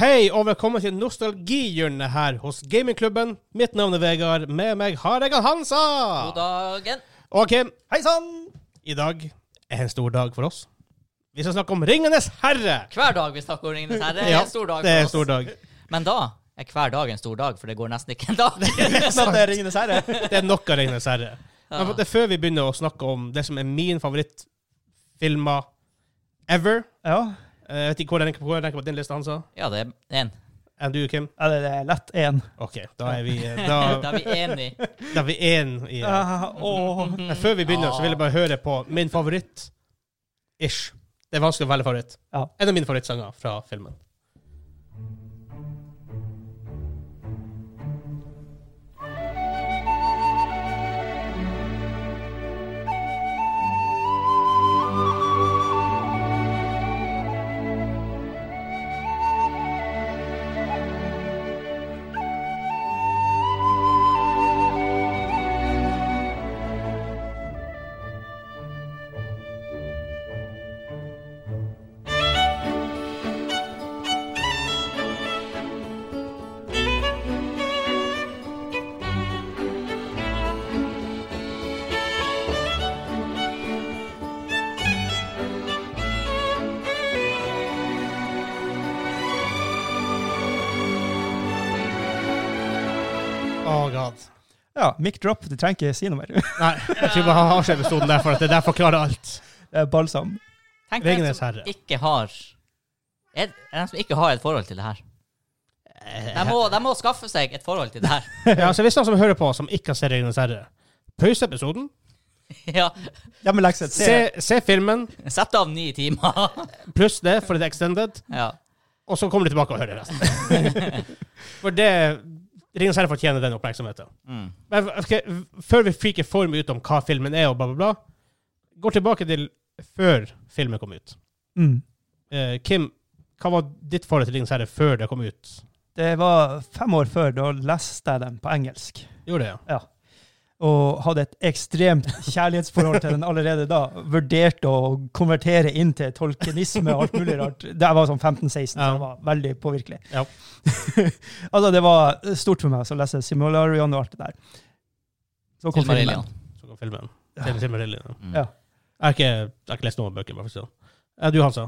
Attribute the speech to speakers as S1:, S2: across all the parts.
S1: Hei, og velkommen til nostalgihjørnet her hos gamingklubben. Mitt navn er Vegard. Med meg har jeg han Hansa.
S2: God dagen.
S1: OK,
S3: Hei sann!
S1: i dag er en stor dag for oss. Vi skal snakke om Ringenes herre.
S2: Hver dag vi snakker om Ringenes herre, er
S1: Ja,
S2: en stor dag
S1: Det er
S2: for
S1: en
S2: oss.
S1: stor dag.
S2: Men da er hver dag en stor dag, for det går nesten ikke en dag.
S3: Sånn at det er Ringenes herre.
S1: Det er nok av Ringenes herre. Men for at det er før vi begynner å snakke om det som er min favorittfilmer ever
S3: Ja.
S1: Eh, Jeg vet ikke hvor jeg hvor jeg tenker på din liste, Hansa.
S2: Ja, det er én.
S1: Enn du, Kim?
S3: ja, det det er eh, lett én.
S1: OK, da er vi eh,
S2: Da
S1: Da,
S2: er vi enige.
S1: da er vi én i det.
S3: Ah, åh.
S1: Men før vi begynner, så vil jeg bare høre på min favoritt-ish. Det er vanskelig å velge favoritt.
S3: Ja.
S1: En av mine favorittsanger fra filmen. Oh god.
S3: Ja, mic drop. Du trenger ikke si noe mer.
S1: Nei, jeg tror bare han har seg episoden der, for at det der forklarer alt.
S3: Det er balsam.
S2: Tenk deg en
S1: Ringenes
S2: som
S1: herre.
S2: ikke har er er de som ikke har et forhold til det her. De må, de må skaffe seg et forhold til det her.
S1: Ja, så Hvis noen som hører på, som ikke har sett Ringenes herre, pause episoden.
S2: Ja.
S3: Ja, men lekser.
S1: Se,
S3: Se.
S1: se filmen,
S2: Sett av ni timer.
S1: pluss det, for det er extended,
S2: Ja.
S1: og så kommer du tilbake og hører resten. For det Ringenes herre fortjener den oppmerksomheten.
S2: Mm.
S1: Men, ok, før vi freaker for mye ut om hva filmen er, og bla, bla, bla, gå tilbake til før filmen kom ut.
S3: Mm.
S1: Eh, Kim, hva var ditt forhold til Ringenes herre før det kom ut?
S3: Det var fem år før. Da leste jeg den på engelsk.
S1: Gjorde det, ja.
S3: Og hadde et ekstremt kjærlighetsforhold til den allerede da. Vurderte å konvertere inn til tolkenisme og alt mulig rart. Da jeg var sånn 15-16, så
S1: Ja.
S3: det var veldig påvirkelig.
S1: Ja.
S3: altså, det var stort for meg å lese Simularion og alt det der. Så kom
S2: Til
S3: filmen.
S2: Marillion.
S1: Så kom filmen.
S3: Ja.
S1: Til, til Marilyn, ja.
S2: Mm.
S3: Ja.
S1: Jeg har ikke, jeg har ikke lest noen bøker, bare for å si det. Eh, Du, Hansa.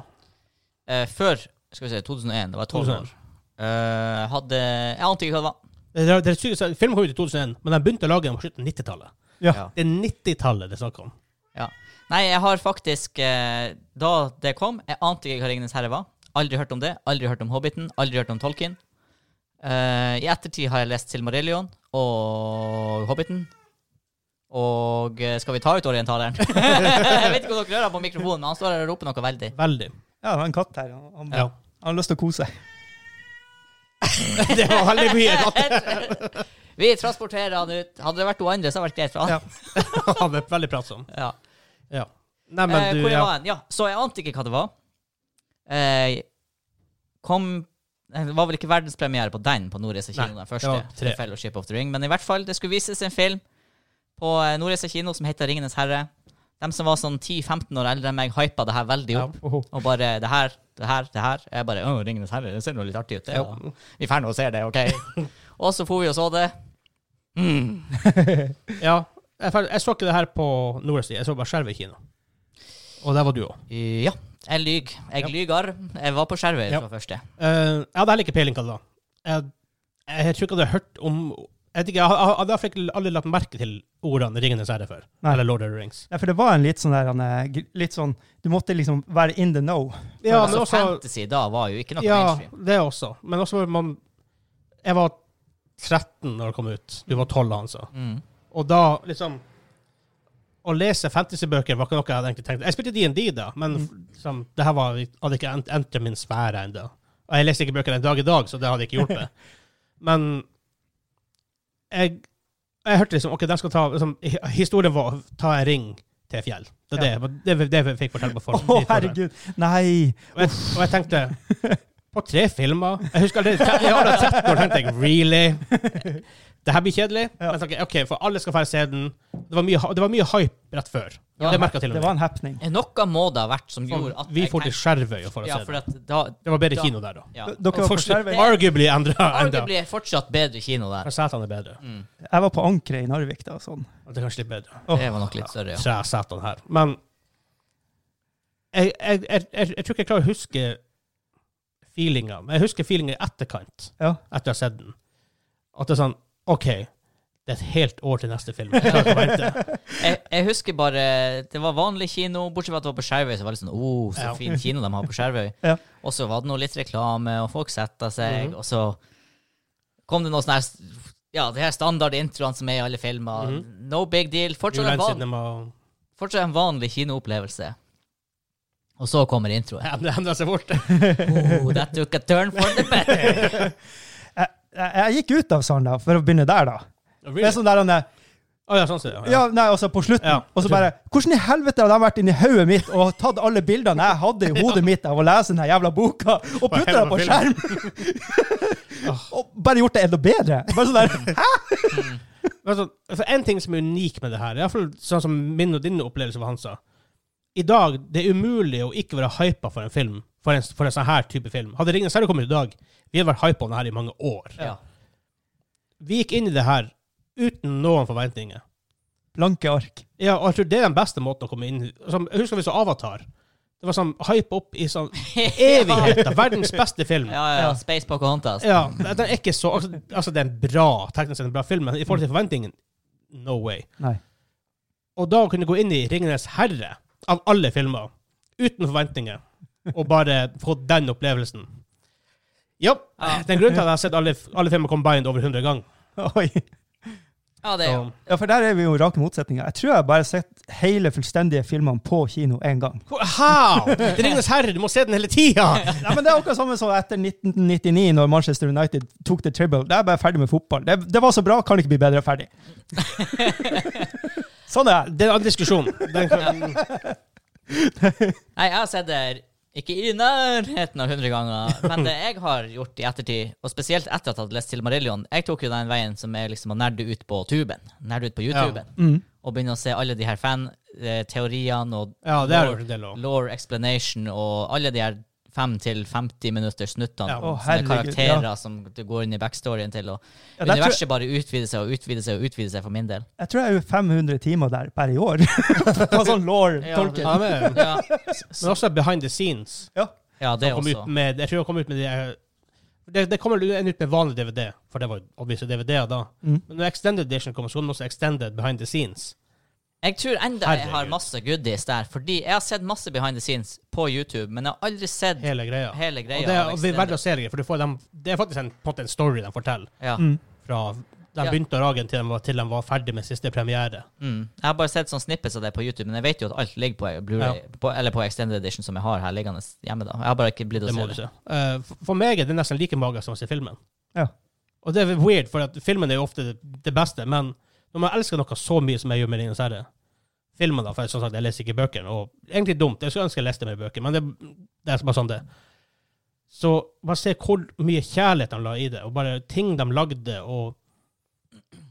S2: Eh, før skal vi se, 2001. Da var jeg 12 år. Eh, hadde Jeg ante ikke hva det var.
S1: Det er, det er sykt, så- filmen kom ut i 2001, men de begynte å lage den på slutten av 90-tallet.
S3: Ja.
S2: Ja.
S1: Det er 90-tallet det er snakk om.
S2: Nei, jeg har faktisk eh, Da det kom, jeg ante ikke hva Ringenes herre var. Aldri hørt om det. Aldri hørt om Hobbiten. Aldri hørt om Tolkien. Eh, I ettertid har jeg lest Silmarillion og Hobbiten. Og eh, skal vi ta ut orientaleren? jeg vet ikke om dere hører på mikrofonen, men han står her og roper noe veldig.
S1: Veldig.
S3: Ja, det var en katt her. Han, han,
S1: Ja.
S3: han har lyst til å kose seg.
S1: Det var veldig mye godt.
S2: Vi transporterer han ut. Hadde det vært hun andre, så hadde det vært greit for han.
S3: Ja.
S1: Han er veldig pratsom.
S2: Ja.
S1: Ja. Nei, men
S2: eh,
S1: du
S2: hvor jeg
S1: ja.
S2: var hen? Ja, så jeg ante ikke hva det var. Eh, kom eh, Det var vel ikke verdenspremiere på den på Nordreisa kino,
S1: Nei,
S2: den
S1: det
S2: første.
S1: var tre.
S2: The Fellowship of the Ring. Men i hvert fall, det skulle vises en film på eh, Nordreisa kino som heter Ringenes herre. De som var sånn 10-15 år eldre enn meg, hypa det her veldig
S1: Ja.
S2: opp. Og bare det her, det her, det her. Jeg bare Å, Ringenes herre, det ser nå litt artig ut. Det,
S1: Ja.
S2: da. Vi drar nå og ser det, OK? og så for vi og så det. Mm.
S1: ja. Jeg, fer- jeg så ikke det her på Nordøst, jeg så bare Skjervøy kino. Og der var du òg.
S2: Ja. Jeg lyver. Jeg
S1: Ja.
S2: lyver. Jeg var på Skjervøy
S1: Ja.
S2: fra første.
S1: Eh, jeg hadde heller ikke peiling hva det var. Jeg, jeg tror ikke jeg hadde hørt om Jeg vet ikke, jeg hadde- hadde iallfall ikke aldri lagt merke til ordene 'Ringenes herre' før.
S3: Nei.
S1: Eller 'Lord of the Rings'.
S3: Ja, for det var en litt sånn der han, eh, gr- litt sånn, Du måtte liksom være in the know.
S1: Ja, men
S2: altså,
S1: også
S2: fantasy da var jo ikke noe
S1: Ja,
S2: mainstream.
S1: det også. Men også var man Jeg var 13 når det kom ut. Du var altså. 12, han sa.
S2: Mm.
S1: Og da liksom Å lese fantasybøker var ikke noe jeg hadde egentlig tenkt Jeg spilte D&D da, men
S3: Mm.
S1: liksom, det her var, hadde ikke ent- entra min sfære ennå. Og jeg leste ikke bøker den dag i dag, så det hadde ikke hjulpet. men jeg, jeg hørte liksom OK, de skal ta liksom, hi- Historien var å ta en ring til et fjell. Det er det, det, det, vi fikk fortelle på
S3: Å,
S1: forhånd. i forhånd.
S3: herregud! Nei!
S1: Og jeg, og jeg tenkte På tre filmer Jeg husker allerede tre- jeg var da 13 år tenkte jeg Really? Det her blir kjedelig. Men jeg tenkte, ok, for alle skal få se den. Det var mye, det var mye hype rett før. Det
S2: Ja,
S1: det merket jeg til og
S3: Det
S1: med.
S3: var en happening.
S2: Eh, Noe må det ha vært som gjorde at
S1: Vi
S2: jeg
S1: får til
S2: tenkte-
S1: Skjervøy for å
S2: Ja,
S1: se
S2: for
S1: det.
S2: at da
S1: Det var bedre
S2: da-
S1: kino der, da.
S2: Ja.
S3: D- Dere
S1: Og
S3: var på
S1: fortsatt-
S3: Skjervøy.
S1: Arguably endra
S2: Det
S1: enda.
S2: blir fortsatt bedre kino der. Mm.
S1: Men Setene er bedre.
S3: Jeg var på ankeret i Narvik da. sånn.
S1: Det er kanskje litt bedre.
S3: Åh.
S2: Det var nok litt større, ja.
S1: Tre setene her. Men jeg, jeg, jeg, jeg, jeg tror ikke jeg klarer å huske feelinga. Men jeg husker feelinga i etterkant,
S3: Ja.
S1: etter å ha sett den. At det er sånn OK, det er et helt år til neste film. Jeg klarer ikke å vente.
S2: Jeg, jeg husker bare Det var vanlig kino, bortsett fra at det var på Skjervøy. Så var det sånn, oh, så
S1: Ja.
S2: fin kino de har på Skjervøy.
S3: Ja.
S2: Og så var det nå litt reklame, og folk setta seg,
S1: Mhm.
S2: og så kom det noe sånn her s- Ja, det her standardintroene som er i alle filmer.
S1: Mhm.
S2: No big deal. Fortsatt en,
S1: Julen
S2: van,
S1: Cinema
S2: fortsatt en vanlig kinoopplevelse. Og så kommer introen.
S1: endra seg fort.
S2: Oh, that took a turn for the better.
S3: Jeg, jeg, jeg gikk ut av salen da, for å begynne der, da. Det er sånn der, han er-
S1: Å ja, sånn ser det.
S3: ja, nei, altså på slutten.
S1: Ja.
S3: Og så bare Hvordan i helvete har de vært inni hodet mitt og tatt alle bildene jeg hadde i hodet mitt av å lese den her jævla boka, og putta
S1: hele
S3: dem på
S1: filmen.
S3: skjerm? og bare gjort det enda bedre? Bare sånn der, Hæ?
S1: Altså, for en ting som er unik med det her, i hvert fall sånn som min og din opplevelse var Hansa I dag det er umulig å ikke være hypa for en film, for en, for en sånn her type film. Hadde 'Ringenes herre' kommet i dag, vi hadde vært hypa om det her i mange år.
S2: Ja.
S1: Vi gikk inn i det her uten noen forventninger.
S3: Blanke ark.
S1: Ja, og jeg tror det er den beste måten å komme inn som, Jeg husker vi så Avatar. Det var sånn hype opp i sånn evigheter. Verdens beste film.
S2: Ja, ja, ja. Space Pocahontas.
S1: Ja, den er ikke så Altså, altså det er en bra, teknisk sett en bra film, men i forhold til forventningen, no way.
S3: Nei.
S1: Og da å kunne gå inn i 'Ringenes herre', av alle filmer, uten forventninger, og bare få den opplevelsen Ja.
S2: Ja.
S1: Det er en grunn til at jeg har sett alle, alle filmer combined over 100 ganger.
S3: Oi.
S2: Ja, det er jo
S1: Så,
S3: Ja, for der er vi jo rake motsetninger. Jeg tror jeg bare har sett hele fullstendige filmene på kino én gang.
S1: Hvor- how?! Det er 'Ringenes herre', du må se den hele tida!
S3: Nei, men Det er akkurat samme som etter 1999, når Manchester United tok the tribble. Da er jeg bare ferdig med fotball. Det, det var så bra, kan ikke bli bedre ferdig. sånn er det.
S1: Det er en annen diskusjon. Den kan,
S2: Nei, jeg har sett det ikke i nærheten av 100 ganger, men det jeg har gjort i ettertid, og spesielt etter at jeg hadde lest Silmarillion Jeg tok jo den veien som er liksom å nerde ut på tuben, nerde ut på YouTuben,
S3: Mm.
S2: og begynne å se alle de her fan-teoriene og
S1: ja, det har jeg gjort en del òg.
S2: law explanation og alle de her 5 til 50 minutter snuttene
S1: Ja.
S2: om
S3: Å,
S2: sånne
S3: herregud,
S2: karakterer
S3: ja.
S2: som du går inn i backstoryen til, og
S3: Ja, der tror-
S2: universet bare utvider seg og utvider seg og utvider seg for min del.
S3: Jeg tror jeg er 500 timer der bare i år. på sånn law
S2: Ja,
S3: tolken
S1: Ja, men,
S2: Ja,
S1: men også behind the scenes.
S3: Ja.
S2: ja det
S1: kom
S2: også.
S1: ut med, jeg tror han kom ut med de eh, det, det kommer en ut med vanlig DVD, for det var jo obviously DVD-er da.
S3: Mm.
S1: Men når Extended Edition kommer, så kommer også Extended Behind the Scenes.
S2: Jeg tror enda jeg har
S1: Herregud.
S2: masse goodies der, fordi jeg har sett masse behind the scenes på YouTube, men jeg har aldri sett hele,
S1: Hele greia.
S2: greia.
S1: og det er
S2: av
S1: det er
S2: Extended.
S1: verdt å se det, for du får dem, det er faktisk en, på en måte en story de forteller.
S2: ja.
S3: Mm.
S1: Fra de
S2: Ja.
S1: begynte å rage til de, var, til de var ferdig med siste premiere.
S2: mm. Jeg har bare sett sånn snippets av det på YouTube, men jeg vet jo at alt ligger på Blu-ray, på- eller på Extended Edition som jeg har her liggende hjemme. da. Jeg har bare ikke blitt å
S1: Det må du
S2: se det.
S1: se. Eh, for- for meg er det nesten like mager som å se filmen.
S3: Ja.
S1: Og det er weird, for at filmen er jo ofte det, det beste, men når man elsker noe så mye som jeg gjør med Ringenes herre Filmen, da, for som sagt, jeg leser ikke bøkene, og egentlig dumt. Jeg skulle ønske jeg leste mer bøker, men det, det er bare sånn det. Så bare se hvor mye kjærlighet de la i det, og bare ting de lagde, og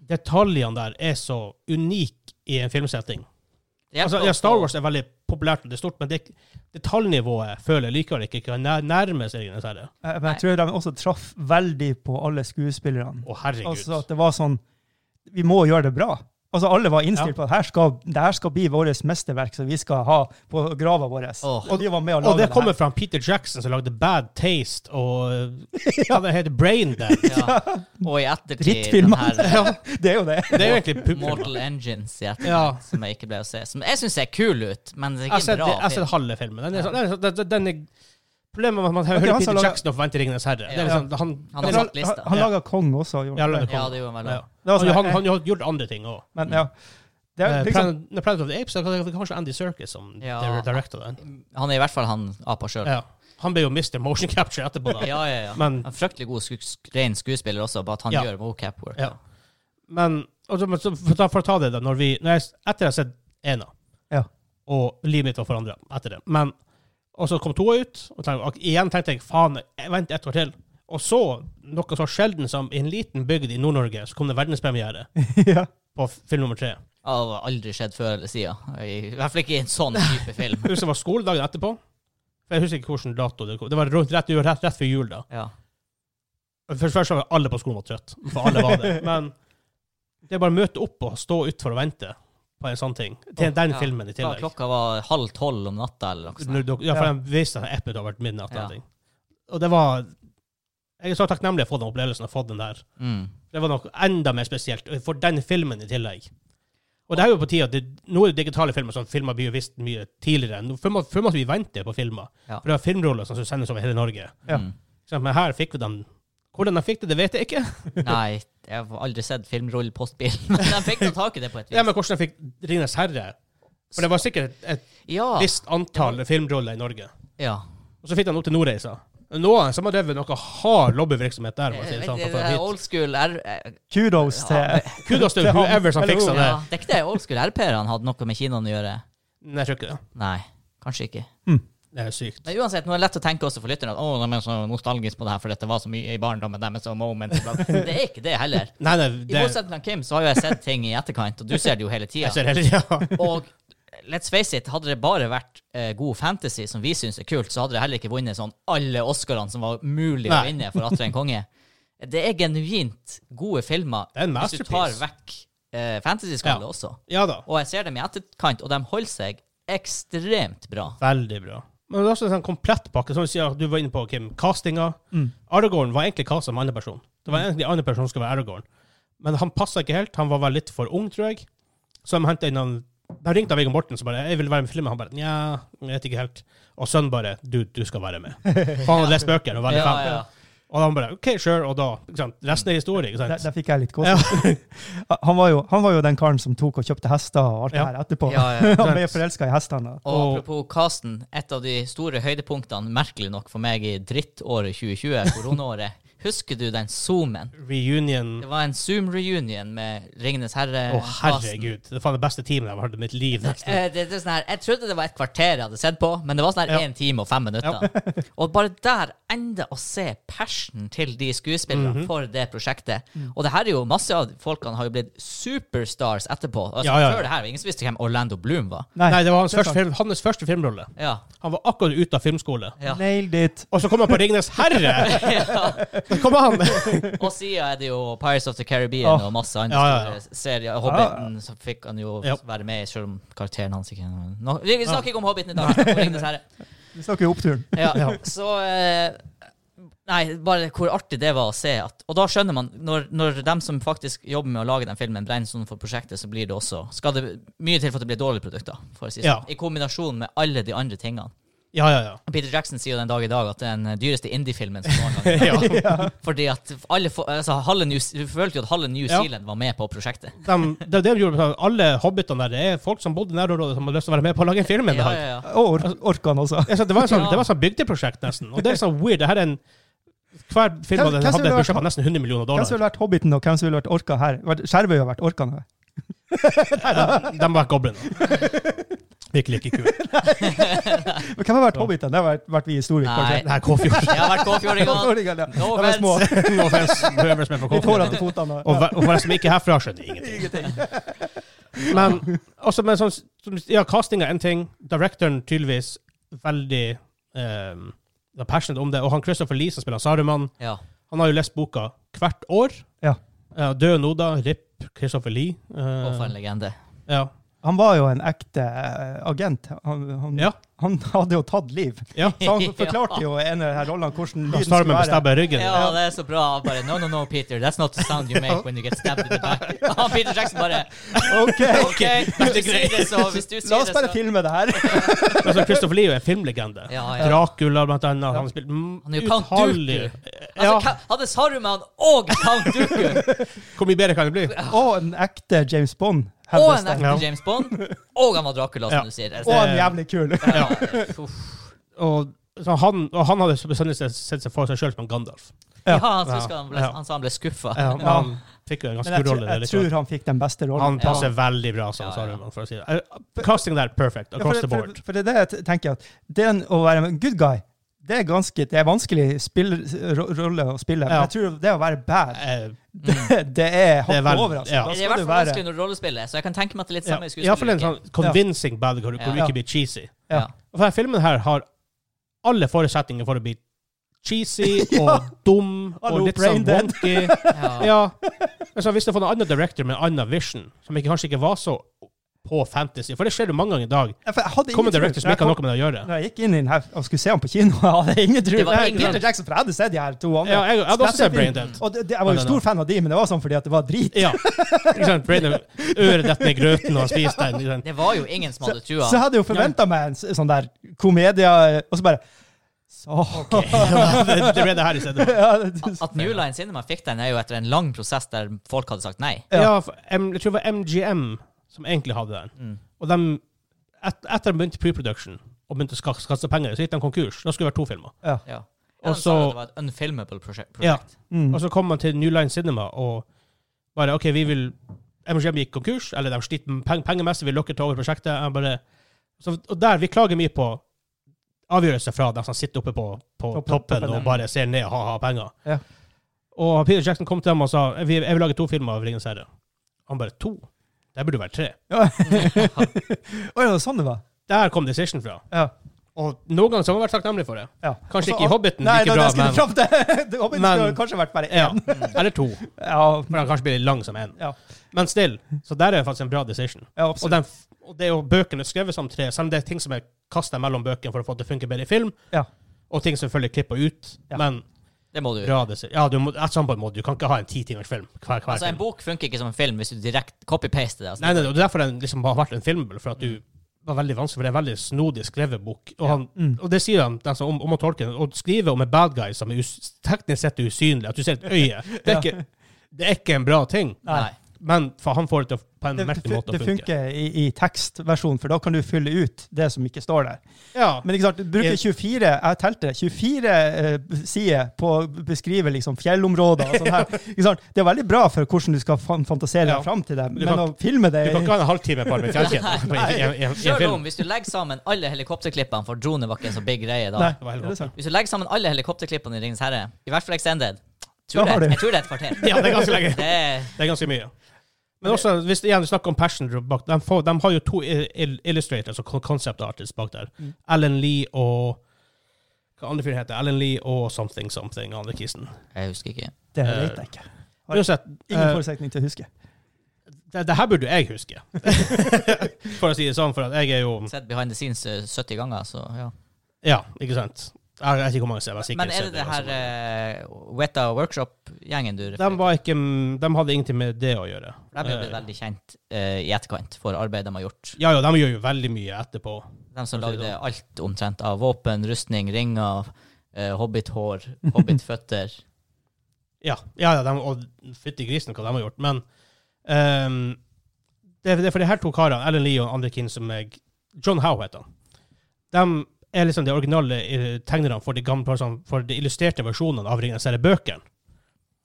S1: detaljene der er så unike i en filmsetting.
S2: Det hjelper
S1: Altså, ja,
S2: å
S1: Star
S2: få-
S1: Wars er veldig populært, og det er stort, men det, detaljnivået føler jeg likevel ikke kan nær- nærme seg Ringenes herre.
S3: Eh, Men jeg tror de også traff veldig på alle skuespillerne.
S1: Å, herregud.
S3: Altså at det var sånn Vi må gjøre det bra. Altså Alle var innstilt
S1: Ja.
S3: på at her skal, det her skal bli vårt mesterverk som vi skal ha på grava vår.
S2: Åh.
S3: Og de var med og
S1: og
S3: laga
S1: det
S3: det.
S1: kommer
S3: her.
S1: fra Peter Jackson, som lagde Bad Taste og ja, det heter Brain Dead.
S2: Ja. Og i ettertid den
S3: Drittfilmer.
S2: her
S3: Det er jo det.
S1: Det er jo egentlig publikum.
S2: Mortal Engines i ettertid,
S1: altså. Ja.
S2: som jeg ikke ble å se. Som jeg syns ser kul ut, men det er
S1: Jeg har
S2: ikke
S1: sett- jeg
S2: en bra
S1: har sett
S2: film.
S1: halve filmen. Den er, sånn- den er, sånn- den- den er, problemet er at man hører
S3: han som
S1: Peter
S3: lager-
S1: Jackson og forventer Ringenes herre. Det
S2: Ja.
S1: er liksom, han,
S2: Han har
S3: Han,
S2: satt lista.
S3: han laga Kong også. gjorde
S1: Ja,
S3: han.
S1: han
S2: Ja, det gjorde han vel
S1: ja.
S2: også.
S3: Det var
S1: han,
S3: sånn,
S1: han,
S3: eh,
S1: han har gjort andre ting òg.
S3: Men ja. Det er liksom,
S1: Planet, når Planet of the Apes, da var det kanskje Andy Serkis som
S2: Ja.
S1: ja. directa den.
S2: Han er i hvert fall han apa sjøl.
S1: Ja. Han ble jo Mr. Motion Capture etterpå, da.
S2: Ja, ja, ja.
S1: Men
S2: En fryktelig god sku sk ren skuespiller også, bare at han
S1: Ja.
S2: gjør mocap work.
S1: Ja. Men og så- men så for, å ta- for å ta det, da. Når vi, når jeg, etter jeg har sett ena,
S3: Ja.
S1: og livet mitt var forandra etter det Men Og så kom toa ut, og, tenkte, og igjen tenkte jeg faen, jeg vent ett år til. Og så, noe så sjelden som i en liten bygd i Nord-Norge, så kom det verdenspremiere
S3: ja.
S1: på film nummer tre.
S2: Ja, Det har aldri skjedd før eller siden. I hvert fall ikke i en sånn type film.
S1: Jeg husker det var skoledagen etterpå. For jeg husker ikke hvilken dato det kom. Det var rundt, rett, det var rett, rett før jul, da.
S2: Ja.
S1: Først, først var alle på skolen var trøtt, for alle var det. Men det er bare å møte opp og stå utfor og vente på en sånn ting. Til den
S2: Ja.
S1: filmen i
S2: Da
S1: tillegg.
S2: klokka var halv tolv om natta eller noe sånt.
S1: Når dere- Ja, for
S3: Ja.
S1: de viste at appen hadde vært midnatt.
S2: Ja.
S1: eller ting. Og det var Jeg er så takknemlig for den opplevelsen og fått den der.
S2: Mm.
S1: Det var noe enda mer spesielt for den filmen i tillegg. Og det er jo på tide at det, nå er det digitale filmer som filmer blir jo visst mye tidligere. Nå, før, må, før måtte vi vente på filmer.
S2: Ja.
S1: For det var filmroller som skulle sendes over hele Norge.
S3: Ja.
S2: Mm.
S1: Ikke sant? Men her fikk vi dem. Hvordan de fikk det, det vet jeg ikke.
S2: Nei, jeg har aldri sett filmrull postbil, men de fikk nå tak i det på et vis.
S1: Ja, Men hvordan de fikk Ringenes herre. For det var sikkert et, et
S2: ja,
S1: visst antall filmroller i Norge.
S2: ja.
S1: Og så fikk de opp til Nordreisa. Noen som har drevet noe hard lobbyvirksomhet der. må jeg si det
S2: Jeg
S1: sånn,
S2: vet
S1: for å få
S2: ikke, Eh, det
S1: dem
S2: er
S1: hit.
S2: Old school R... eh,
S3: Kudos til
S2: Ja,
S1: Kudos til
S2: eh,
S3: Det er han-
S1: whoever som
S3: eller
S1: fiksa
S3: hun,
S1: det.
S2: Ja, det er ikke det old school RP-erne hadde noe med kinoen å gjøre.
S1: Nei, jeg tror ikke det.
S2: Nei, kanskje ikke.
S1: Det er sykt.
S2: Men uansett, nå er det lett å tenke også for lytterne at å, de er så nostalgiske på det her, for dette var så mye i barndommen deres og moment. bla, bla». Det er ikke det heller.
S1: Nei, nei,
S2: I
S1: det,
S2: motsetning til Kim, så har jo jeg sett ting i etterkant, og du ser det jo hele tida.
S1: jeg ser hele tida.
S2: Og let's face it, hadde det bare vært eh, god fantasy, som vi syns er kult, så hadde det heller ikke vunnet sånn alle Oscarene som var mulig å
S1: Nei.
S2: vinne for Atter en konge. Det er genuint gode filmer
S1: Det er en
S2: hvis du tar
S1: masterpiece.
S2: vekk eh, fantasy-skallet
S1: Ja.
S2: også.
S1: Ja da.
S2: Og jeg ser dem i etterkant, og de holder seg ekstremt bra.
S1: Veldig bra. Men det er også en sånn komplett pakke, som du sier at du var inne på, Kim. Castinga.
S3: Mm.
S1: Aragorn var egentlig castet som andre person. Det var egentlig andre person som skulle være Aragorn. Men han passa ikke helt. Han var vel litt for ung, tror jeg. Så de hentet inn han De ringte han Viggo Morten som bare 'Jeg vil være med i filmen.' Han bare 'Nja, jeg vet ikke helt'. Og sønnen bare 'Du, du skal være med'. For han hadde lest bøker og var veldig
S2: Ja,
S1: fan.
S2: ja.
S1: Og han bare 'OK, sure', og da ikke sant? Resten er historie, ikke
S3: Der,
S1: sant?
S3: der fikk jeg litt gåsehud. Han, var jo- han var jo den karen som tok og kjøpte hester og alt det
S1: Ja.
S3: her etterpå.
S2: Ja, ja.
S3: Han ble forelska i hestene.
S2: Og
S1: Og-
S2: apropos casten, et av de store høydepunktene, merkelig nok for meg, i drittåret 2020, koronaåret, husker du den zoomen?
S1: Reunion
S2: Det var en Zoom-reunion med Ringenes herre.
S1: Å, herregud. Det er faen det beste teamet jeg har vært i mitt liv. nesten.
S2: Eh, Det, det er sånn her, jeg trodde det var et kvarter jeg hadde sett på, men det var sånn her
S1: Ja.
S2: én time og fem minutter. og bare der enda å se passion til de skuespillerne
S1: Mhm.
S2: for det prosjektet.
S1: Mm.
S2: Og det her er jo masse av folkene har jo blitt superstars etterpå. Altså,
S1: Ja, ja, ja.
S2: Før det her, ingen som visste hvem Orlando Bloom var.
S1: Nei, det var hans
S3: det er
S1: første,
S3: sant.
S1: film, hans første filmrolle.
S2: Ja.
S1: Han var akkurat ute av filmskole.
S2: ja.
S3: Nailed it.
S1: Og så kom han på Ringenes herre! Så kom han!
S2: Og siden er det jo Pirates of the Caribbean
S3: Åh.
S2: og masse andre
S1: Ja, ja, ja.
S2: store serier. Hobbiten så fikk han jo
S1: Ja.
S2: være med, i, selv om karakteren hans ikke Nå- Vi vi snakker ikke om Hobbiten i dag. vi snakker om Ringenes herre.
S3: Vi snakker jo oppturen.
S2: Ja, så eh, Nei, bare hvor artig det var å se. At, og da skjønner man, når, når de som faktisk jobber med å lage den filmen, brenner sånn for prosjektet, så blir det også Skal det mye til for at det blir dårlige produkter, for å si det
S1: Ja.
S2: sånn. I kombinasjon med alle de andre tingene.
S1: Ja, ja, ja.
S2: Peter Jackson sier jo den dag i dag at det er den dyreste indie-filmen som noen gang.
S1: ja.
S2: Fordi at alle fo- altså, halve New, Du følte jo at halve New
S1: Ja.
S2: Zealand var med på prosjektet.
S1: De, det er det de gjorde. Alle hobbitene der det er folk som bodde i nærområdet, som hadde lyst til å være med på å lage en film en
S2: Ja,
S1: dag.
S2: ja, ja.
S3: Og
S1: Altså-
S3: or orkan også.
S1: Jeg sa, Det var et sånn,
S2: Ja.
S1: det var sånn bygdeprosjekt, nesten. Og det er sånn weird. Det her er en Hver film
S3: Hvem-
S1: hadde,
S3: hvem som
S1: hadde et
S3: ville
S1: budsjett
S3: vært-
S1: på nesten 100 millioner
S3: Hvem som
S1: dollar.
S3: ville vært Hobbiten, og hvem som ville vært orka her? Vært- Skjervøy har vært orkan her.
S1: De var gobliner. Virkelig ikke kult.
S3: Men hvem har vært Hobbiten? Det har vært, vært vi i Storvik,
S2: Nei.
S1: Det her Kåfjord.
S2: Jeg har vært K-fjordingene.
S3: kanskje.
S2: No
S3: De er små.
S2: offense.
S1: No offense, whoever som er fra
S3: Vi
S1: Kåfjord.
S3: får han til fotene.
S1: Og, hver- og for de som ikke er herfra, skjønner ingenting. Men også med sånn som- Ja, casting er én ting. Directoren tydeligvis veldig um, passionate om det. Og han Christopher Lee som spiller Saruman,
S2: Ja.
S1: han har jo lest boka hvert år.
S3: Ja.
S1: Eh, Døde Noda, RIP, Christopher Lee. Eh,
S2: Og for en legende.
S1: ja.
S3: Han var jo en ekte eh, agent. Han, han,
S1: Ja.
S3: han hadde jo tatt liv.
S1: ja.
S3: Så han forklarte jo en av de her rollene
S1: Da
S3: hvordan lyden skulle
S1: Saruman
S3: være.
S1: bestabber ryggen.
S2: Ja, det er så bra. Bare No, no, no, Peter. That's not the sound you make when you get stabbed in the back. Og Peter Jackson bare
S3: Ok,
S2: OK, hvis du sier det, så Hvis du sier det, så
S3: La oss bare filme det her.
S1: Altså, Christopher Lee er en filmlegende.
S2: Ja, ja.
S1: Dracula, blant annet. Han har spilt
S2: Han er jo Count
S1: utallige
S2: Altså,
S1: Ja,
S2: ka- hadde Saruman og Count Dooku
S1: hvor mye bedre kan det bli?
S3: Og en ekte James Bond.
S2: og
S3: hevdes
S2: en
S3: det.
S2: ekte
S1: Ja.
S2: James Bond, og han var Dracula, som
S1: Ja.
S2: du sier.
S3: Og en jævlig kul.
S2: Ja, uff.
S1: Og, så han, og han hadde bestandig sett sett seg for seg sjøl som Gandalf.
S2: ja,
S3: Ja.
S2: han, husker han, ble,
S1: Ja.
S2: han sa han ble skuffa.
S1: Ja, men
S3: Ja.
S1: han fikk jo en
S3: Men
S1: ganske
S3: jeg,
S1: god
S3: tror-
S1: rolle. der,
S3: jeg
S1: liksom.
S3: tror han fikk den beste rollen.
S1: Han passer
S2: Ja.
S1: veldig bra som
S2: Ja, ja.
S1: Saruman, for å si det. Eh, Casting der, perfect.
S3: Ja, for
S1: Across
S3: det-
S1: the board.
S3: For, for det er det jeg t- tenker. at Det en- å være en good guy, Det er ganske, det er vanskelig spill, eh, ro, rolle å spille, men
S1: Ja.
S3: jeg tror det å være bad,
S1: Eh,
S3: det, det er hakket
S1: vel-
S3: over. Altså.
S1: ja.
S3: Da
S2: Det er i
S3: skal
S2: hvert
S3: du
S2: fall
S3: være
S2: vanskelig når du rollespiller, så jeg kan tenke meg at det er litt
S1: ja.
S2: samme i
S1: Iallfall en sånn
S2: skuespilleryrket.
S1: convincing bad guy hvor hvor du
S2: Ja.
S1: ikke blir cheesy.
S3: Ja.
S2: Ja.
S1: Og denne filmen her har alle forutsetninger for å bli cheesy og
S3: Ja.
S1: dum og
S3: Hallo,
S1: litt sånn
S3: brain dead.
S1: wonky.
S2: Ja.
S1: Ja. Men så hvis det var en annen director med en annen vision, som ikke, kanskje ikke var så på fantasy For det skjer jo mange ganger i dag.
S3: Ja, for jeg hadde
S1: Kommer
S3: ingen tro.
S1: director som ikke har noe med det å gjøre.
S3: Når jeg gikk inn i den her og skulle se ham på kino, jeg hadde ingen tro.
S2: Det var
S3: Nei,
S2: ingen-
S3: Peter Jackson, for jeg hadde sett de her to andre.
S1: Ja, jeg, jeg hadde også sett Brain Dead.
S3: Og det, det, jeg var jo
S1: Men den
S3: stor fan av de, men det var sånn fordi at det var drit.
S1: Ja. Ikke sant? Brain Dead, Øret detter ned i grøten og han spiser den. Ikke sant?
S2: Det var jo ingen som
S3: Så,
S2: hadde
S3: så
S2: trua.
S3: jeg hadde jo forventa meg en s- sånn der komedia, og så bare så.
S1: Det, det ble det her i stedet.
S3: Ja, det-
S2: At New Line Cinema fikk den, er jo etter en lang prosess der folk hadde sagt nei.
S3: Ja.
S1: Ja, for, em, jeg tror det var MGM som egentlig hadde den.
S3: Mm.
S1: Og de, et, etter de begynte pre-production og begynte å ska- kaste penger, så gikk de konkurs. Da skulle det vært to filmer.
S3: ja.
S2: Ja. Ja,
S1: Og
S2: de sa
S1: så-
S2: at det var et unfilmable prosje-
S1: Ja.
S2: prosjekt.
S3: Mm.
S1: Og så kom man til New Line Cinema og bare OK, vi vil MGM gikk konkurs, eller de sliter med peng pengemessig, vil dere ta over prosjektet? Jeg bare, så, og der, vi klager mye på avgjørelser fra de som sitter oppe på, på
S3: Toppen-
S1: toppen,
S3: toppen, ja.
S1: og bare ser ned og har, har penger.
S3: Ja.
S1: Og Peter Jackson kom til dem og sa jeg vil, jeg vil lage to filmer av Ringenes herre. Han bare to? Det burde være tre.
S3: Ja. Å ja, det var sånn det var.
S1: Der kom Decision fra.
S3: Ja.
S1: Og noen ganger så har man vært takknemlig for det.
S3: ja.
S1: Kanskje
S3: Og så-
S1: ikke i Hobbiten
S3: Nei,
S1: like
S3: da,
S1: bra,
S3: det skulle
S1: men
S3: jeg fram til. Det- Hobbiten
S1: Men-
S3: skulle jo kanskje vært bare
S1: ja.
S3: én.
S1: Eller to.
S3: Ja.
S1: For han kanskje blir litt lang som en.
S3: Ja.
S1: Men still. Så der er det faktisk en bra Decision.
S3: ja,
S1: Og,
S3: absolutt.
S1: den, f- og det er jo bøkene skrevet som tre, selv om det er ting som er kasta mellom bøkene for å få det til å funke bedre i film,
S3: Ja.
S1: og ting som følger klippa ut.
S3: Ja.
S1: Men
S2: Det må du.
S1: bra det Ja, du må, et sånt på en måte. Du kan ikke ha en ti timers film hver, hver
S2: Altså,
S1: film.
S2: en bok funker ikke som en film hvis du direkte copy-paster det. Altså.
S1: Nei, nei, og det er derfor den liksom har vært en filmbel, for at du var veldig vanskelig, for det er en veldig snodig skrevet bok. Og, han,
S3: Mm.
S1: og det sier han den som om, om å tolke den. Å skrive om en bad guy som er us, teknisk sett usynlig, at du ser et øye, det er, ikke, det er ikke en bra ting.
S2: Nei.
S1: Men for han får det til å, på en
S3: Det,
S1: merkelig
S3: det,
S1: måte
S3: det
S1: å funke.
S3: funker i, i tekstversjonen, for da kan du fylle ut det som ikke står der.
S1: Ja.
S3: Men ikke sant, du bruker
S1: Jeg-
S3: 24 jeg telte, 24 eh, sider på å beskrive liksom fjellområder og sånn her. Ikke sant? Det er veldig bra for hvordan du skal fan fantasere
S1: Ja.
S3: deg fram til det,
S1: Du
S3: men
S1: kan-
S3: å filme det
S1: Du kan ikke ha en halvtime bare med fjellkjeden på- i- i- i- i en
S2: Selv om
S1: film.
S2: hvis du legger sammen alle helikopterklippene, for drone var ikke en så big greie da.
S3: Nei,
S1: Det var helt
S3: er det sant?
S2: Hvis du legger sammen alle helikopterklippene i Ringens herre, i hvert fall Extended,
S3: Da
S2: tror
S3: har
S2: det,
S3: du.
S2: jeg tror det er et kvarter.
S1: Ja, det er ganske lenge.
S2: Det er
S1: Det er ganske mye. Men også, hvis det- igjen du snakker om passion bak, de, får, de har jo to il- il- illustrators og kon- concept artists bak der.
S3: Mm.
S1: Alan Lee og Hva andre fyren heter Alan Lee og Something Something, andre kisen.
S2: Jeg husker ikke.
S3: Det
S1: Eh,
S3: vet jeg ikke. Har-
S1: Uansett,
S3: Ingen
S1: eh,
S3: forutsetning til å huske.
S1: det, det her burde jeg huske. for å si det sånn, for at jeg er jo
S2: Sett behind the scenes eh, 70 ganger, så ja.
S1: Ja, ikke sant? Jeg vet ikke hvor mange som har sikkert
S2: Men er det
S1: sett
S2: det
S1: også.
S2: her eh, Weta Workshop-gjengen du
S1: de, var ikke, de hadde ingenting med det å gjøre.
S2: De ble
S1: Eh,
S2: veldig kjent eh, i etterkant for arbeidet de har gjort.
S1: Ja, ja, de gjør jo veldig mye etterpå.
S2: De som
S1: For å si det
S2: lagde alt omtrent av våpen, rustning, ringer, eh, hobbithår, hobbitføtter.
S1: Ja, ja, ja de, og fytti grisen hva de har gjort. Men ehm, det, det er for de her to karene, Ellen Lee og andre kin som jeg John Howe heter han. De er liksom de originale eh, tegnerne for de, gamle, sånn, for de illustrerte versjonene av Ringenes herre-bøkene.